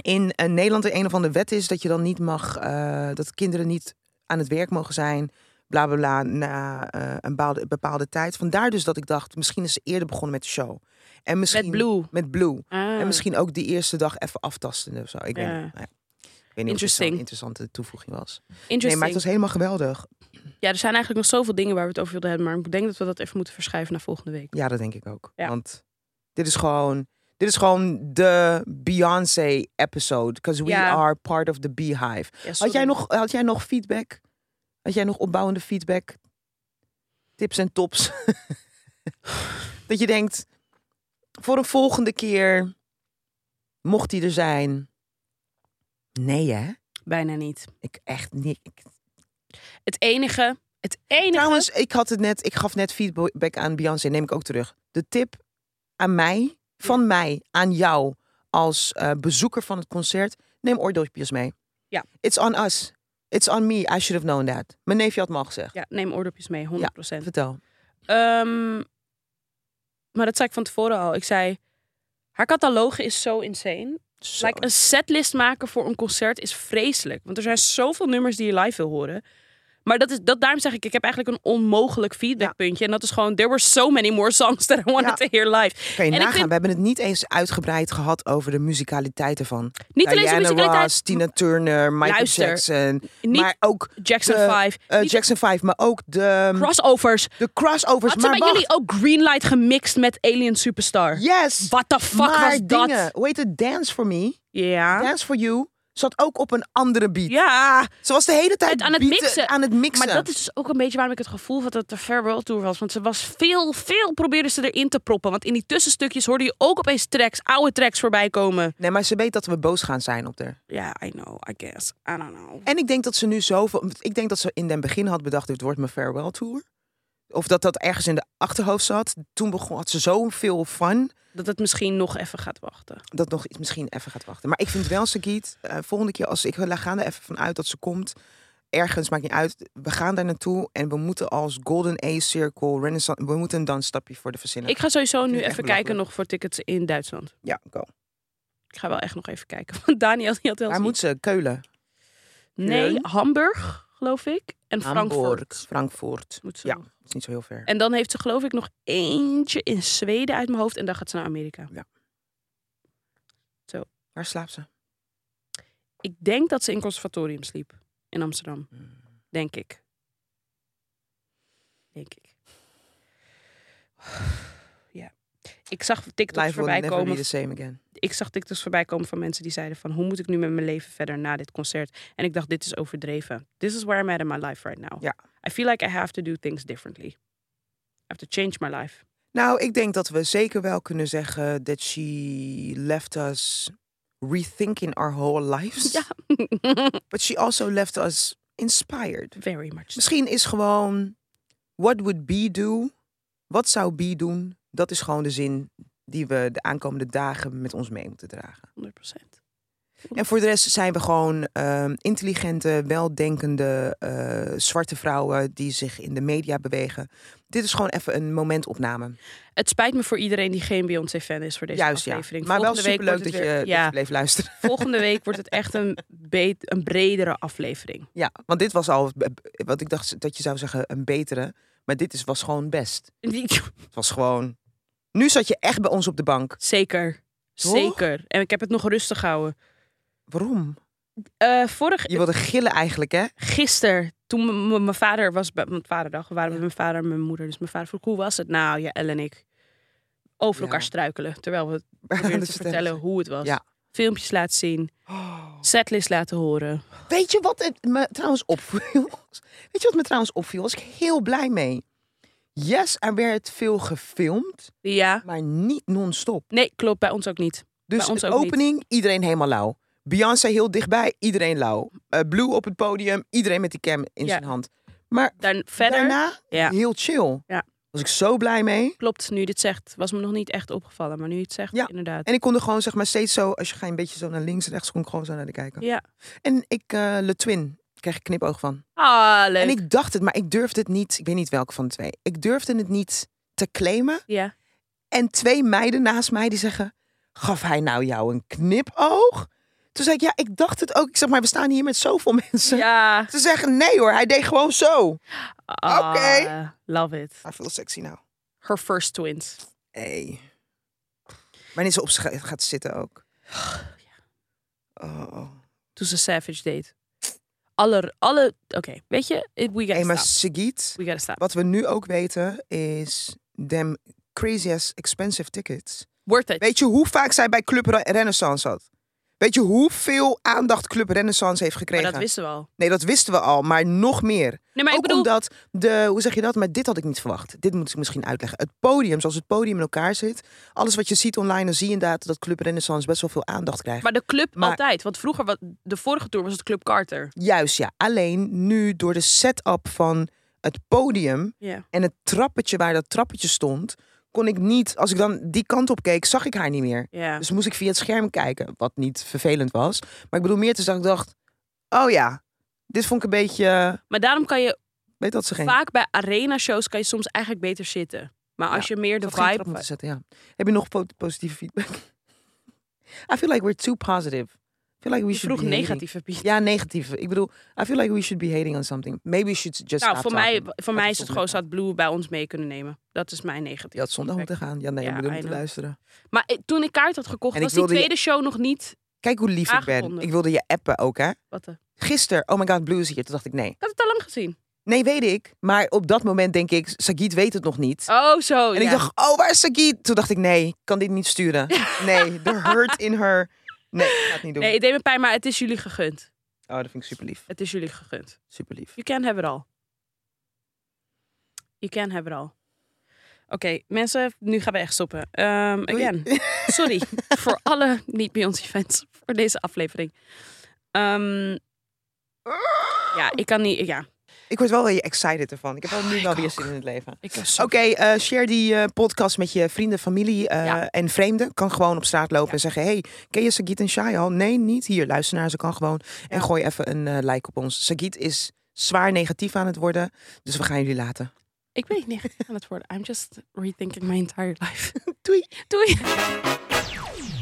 in eh, Nederland er een of andere wet is dat je dan niet mag, eh, dat kinderen niet aan het werk mogen zijn, bla bla bla, na eh, een bepaalde, bepaalde tijd. Vandaar dus dat ik dacht, misschien is ze eerder begonnen met de show. En misschien,
Met Blue.
Met Blue.
Ah.
En misschien ook die eerste dag even aftasten of zo. Ik weet,
Ja.
niet. Nou ja. Ik weet niet of het zo'n
Interesting.
interessante toevoeging was. Nee,
Interesting.
maar het was helemaal geweldig.
Ja, er zijn eigenlijk nog zoveel dingen waar we het over wilden hebben. Maar ik denk dat we dat even moeten verschuiven naar volgende week.
Ja, dat denk ik ook.
Ja.
Want dit is gewoon, dit is gewoon de Beyoncé episode. Because we
Ja.
are part of the beehive.
Ja, sorry.
Had jij, nog, had jij nog feedback? Had jij nog opbouwende feedback? Tips en tops? dat je denkt, Voor een volgende keer, mocht die er zijn. Nee, hè?
Bijna niet.
Ik echt niet. ik-
Het enige, het enige...
Trouwens, ik had het net, ik gaf net feedback aan Beyoncé, neem ik ook terug. De tip aan mij, van mij, aan jou als eh, bezoeker van het concert, neem oordopjes mee.
Ja.
It's on us. It's on me. I should have known that. Mijn neefje had me al gezegd.
ja, neem oordopjes mee, 100%.
Vertel.
Ehm, maar dat zei ik van tevoren al. Ik zei, haar catalogus is zo insane.
Zo.
Like, een setlist maken voor een concert is vreselijk. Want er zijn zoveel nummers die je live wil horen. Maar dat is, dat, daarom zeg ik, ik heb eigenlijk een onmogelijk feedbackpuntje. En dat is gewoon, there were so many more songs that I wanted to hear live.
kan je
en ik
nagaan,
vind-
we hebben het niet eens uitgebreid gehad over de musicaliteit ervan.
Niet alleen zijn
Diana
musicaliteit,
Ross, Tina Turner, Michael
Luister,
Jackson.
niet
maar ook
Jackson
de,
5,
eh,
niet-
Jackson 5, maar ook de,
crossovers.
de crossovers.
Had ze
maar
bij
wacht.
jullie ook Greenlight gemixt met Alien Superstar?
Yes.
What the fuck
maar
was
dingen,
dat?
Hoe heet het? Dance for Me.
Ja.
Dance for You zat ook op een andere beat.
Ja.
Ze was de hele tijd
Het aan het
beaten-
mixen.
aan het mixen.
Maar dat is dus ook een beetje waarom ik het gevoel had dat het de farewell tour was. Want ze was veel, veel probeerde ze erin te proppen. Want in die tussenstukjes hoorde je ook opeens tracks, oude tracks voorbij komen.
Nee, maar ze weet dat we boos gaan zijn op haar.
Ja, I know, I guess. I don't know.
En ik denk dat ze nu zoveel... Ik denk dat ze in den begin had bedacht... dit wordt mijn farewell tour. Of dat dat ergens in de achterhoofd zat. Toen begon, had ze zoveel fun...
Dat het misschien nog even gaat wachten.
dat nog iets misschien even gaat wachten. Maar ik vind wel, Sagiet, eh, volgende keer als ik we gaan er even van uit dat ze komt. Ergens, maakt niet uit. We gaan daar naartoe en we moeten als Golden Ace Circle, Renaissance, we moeten een dansstapje voor de verzinnen.
Ik ga sowieso nu
vind het
even
echt
kijken nog voor tickets in Duitsland.
Ja, go.
Ik ga wel echt nog even kijken. Want Daniel die had wel
Waar
zoiets.
moet ze? Keulen.
Nee, Hamburg, geloof ik. En
Hamburg,
Frankfurt.
Frankfurt.
Moet ze
Ja,
nog.
het is niet zo heel ver.
En dan heeft ze geloof ik nog eentje in Zweden uit mijn hoofd. En dan gaat ze naar Amerika.
Waar slaapt ze?
Ik denk dat ze in conservatorium sliep. In Amsterdam.
Hmm.
Denk ik. Denk ik. Ja. Ik zag TikToks
Life will
voorbij
never be
komen.
the same again.
Ik zag TikToks voorbij komen van mensen die zeiden van... hoe moet ik nu met mijn leven verder na dit concert? En ik dacht, dit is overdreven. This is where I'm at in my life right now.
Ja.
I feel like I have to do things differently. I have to change my life.
Nou, ik denk dat we zeker wel kunnen zeggen that she left us rethinking our whole lives.
Ja.
But she also left us inspired.
Very much so.
Misschien is gewoon what would be do? Wat zou be doen? Dat is gewoon de zin die we de aankomende dagen met ons mee moeten dragen.
100%.
En voor de rest zijn we gewoon ehm, intelligente, weldenkende eh, zwarte vrouwen die zich in de media bewegen. Dit is gewoon even een momentopname.
Het spijt me voor iedereen die geen Beyoncé-fan is voor deze
Juist ja.
aflevering.
Maar wel
Volgende week
superleuk dat
wordt
je,
het weer-
dat je
Ja.
bleef luisteren.
Volgende week wordt het echt een, be- een bredere aflevering.
Ja, want dit was al wat ik dacht dat je zou zeggen een betere, maar dit is, was gewoon best. Het was gewoon. Nu zat je echt bij ons op de bank.
Zeker.
Toch?
Zeker. En ik heb het nog rustig gehouden.
Waarom?
Eh vorig,
Je wilde gillen eigenlijk, hè?
gisteren, toen m- m- mijn vader was bij mijn vaderdag, we waren met mijn vader en mijn moeder. Dus mijn vader vroeg, hoe was het? Nou, ja, Elle en ik over
Ja.
elkaar struikelen. Terwijl we
Aan
probeerden
de
te
stem.
vertellen hoe het was.
Ja.
Filmpjes laten zien,
Oh.
setlist laten horen.
Weet je wat het me trouwens opviel? Weet je wat me trouwens opviel? Was ik heel blij mee. Yes, er werd veel gefilmd,
Ja.
maar niet non-stop.
Nee, klopt, bij ons ook niet.
Dus
ons
de
ook niet.
opening, iedereen helemaal lauw. Beyoncé heel dichtbij, iedereen lauw. Eh, Blue op het podium, iedereen met die cam in
Ja.
zijn hand. Maar
Daar, verder,
daarna,
Ja.
heel chill.
Ja.
Was ik zo blij mee.
klopt, nu je dit zegt, was me nog niet echt opgevallen. Maar nu je het zegt,
Ja.
inderdaad.
En ik kon er gewoon zeg maar steeds zo, als je ga je een beetje zo naar links en rechts, kon ik gewoon zo naar de kijken.
Ja.
En ik, eh Le Twin, kreeg ik knipoog van.
Ah, leuk.
En ik dacht het, maar ik durfde het niet. Ik weet niet welke van de twee. Ik durfde het niet te claimen.
Ja.
En twee meiden naast mij die zeggen: Gaf hij nou jou een knipoog? Toen zei ik: Ja, ik dacht het ook. Ik zeg maar, we staan hier met zoveel mensen.
Ja.
Ze zeggen: Nee hoor, hij deed gewoon zo.
Ah,
Oké.
Love it.
Hij veel sexy nou.
Her first twins.
Hey. Wanneer ze op scha- gaat zitten ook. Oh, oh.
Toen ze Savage deed. Alle, alle oké, weet je, it- we gotta
Hey, maar
stop.
Sigit,
We gotta stop.
wat we nu ook weten is: Them crazy ass expensive tickets.
Worth it.
Weet je hoe vaak zij bij Club Re- Renaissance zat? Weet je hoeveel aandacht Club Renaissance heeft
Maar
gekregen?
dat wisten we al.
Nee, dat wisten we al, maar nog meer.
Nee, maar
Ook
ik bedoel...
omdat de, hoe zeg je dat? Maar dit had ik niet verwacht. Dit moet ik misschien uitleggen. Het podium, zoals het podium in elkaar zit. Alles wat je ziet online, dan zie je inderdaad dat Club Renaissance best wel veel aandacht krijgt.
Maar de club
Maar-
altijd. Want vroeger, wa- de vorige tour was het Club Carter.
Juist, ja. Alleen nu door de setup van het podium
Ja.
en het trappetje waar dat trappetje stond, kon ik niet, als ik dan die kant op keek, zag ik haar niet meer.
Ja.
Dus moest ik via het scherm kijken, wat niet vervelend was. Maar ik bedoel meer te zeggen, ik dacht, oh ja, dit vond ik een beetje,
Maar daarom kan je
weet dat ze geen...
vaak bij arena-shows kan je soms eigenlijk beter zitten. Maar als je meer de
Dat geen trap
vibe...
moeten zetten, ja. Heb je nog po- positieve feedback? I feel like we're too positive. I feel like we
Je
should
vroeg
be hating.
negatieve Piet.
Ja, negatief. Ik bedoel, I feel like we should be hating on something. Maybe we should just
Nou,
stop
voor mij,
talking.
voor
Laten
mij
we
is het
stoppen
gewoon
met
dat Blue bij ons mee kunnen nemen. Dat is mijn negatief.
Je had zondag moeten gaan. Ja, nee,
Ja,
we moeten
I know.
luisteren.
Maar eh, toen ik kaart had gekocht,
En ik
was die
wilde je-
tweede show nog niet...
Kijk hoe lief ik ben.
Aangekondigd.
Ik wilde je appen ook, hè?
Wat de- Ik
Gisteren, oh my god, Blue is hier. Toen dacht ik, nee.
had het al lang gezien.
Nee, weet ik. Maar op dat moment denk ik, Sagit weet het nog niet.
Oh, zo.
en ik
ja.
dacht, oh, waar is Sagit? Toen dacht ik, nee, ik kan dit niet sturen. Nee, the hurt in her. Nee, ik ga het niet doen.
Nee, het deed me pijn, maar het is jullie gegund.
Oh, dat vind ik super lief.
Het is jullie gegund.
Super lief.
You can have it all. You can have it all. Oké, mensen, nu gaan we echt stoppen. Ehm,
Doei.
again, sorry voor alle niet-Beyoncé-fans voor deze aflevering. Ehm, ja, ik kan niet... Ja,
Ik word wel weer excited ervan. Ik heb wel
Oh,
nu wel weer zin in het leven.
ik was zo...
Oké, eh, share die eh, podcast met je vrienden, familie eh,
Ja.
en vreemden. Kan gewoon op straat lopen en zeggen: Hey, ken je Sagit en Shai al? Nee, niet. Hier, luister naar ze. Kan gewoon. En
Ja.
gooi even een eh, like op ons. Sagit is zwaar negatief aan het worden. Dus we gaan jullie laten.
Ik ben niet negatief aan het worden. I'm just rethinking my entire life.
Doei.
Doei.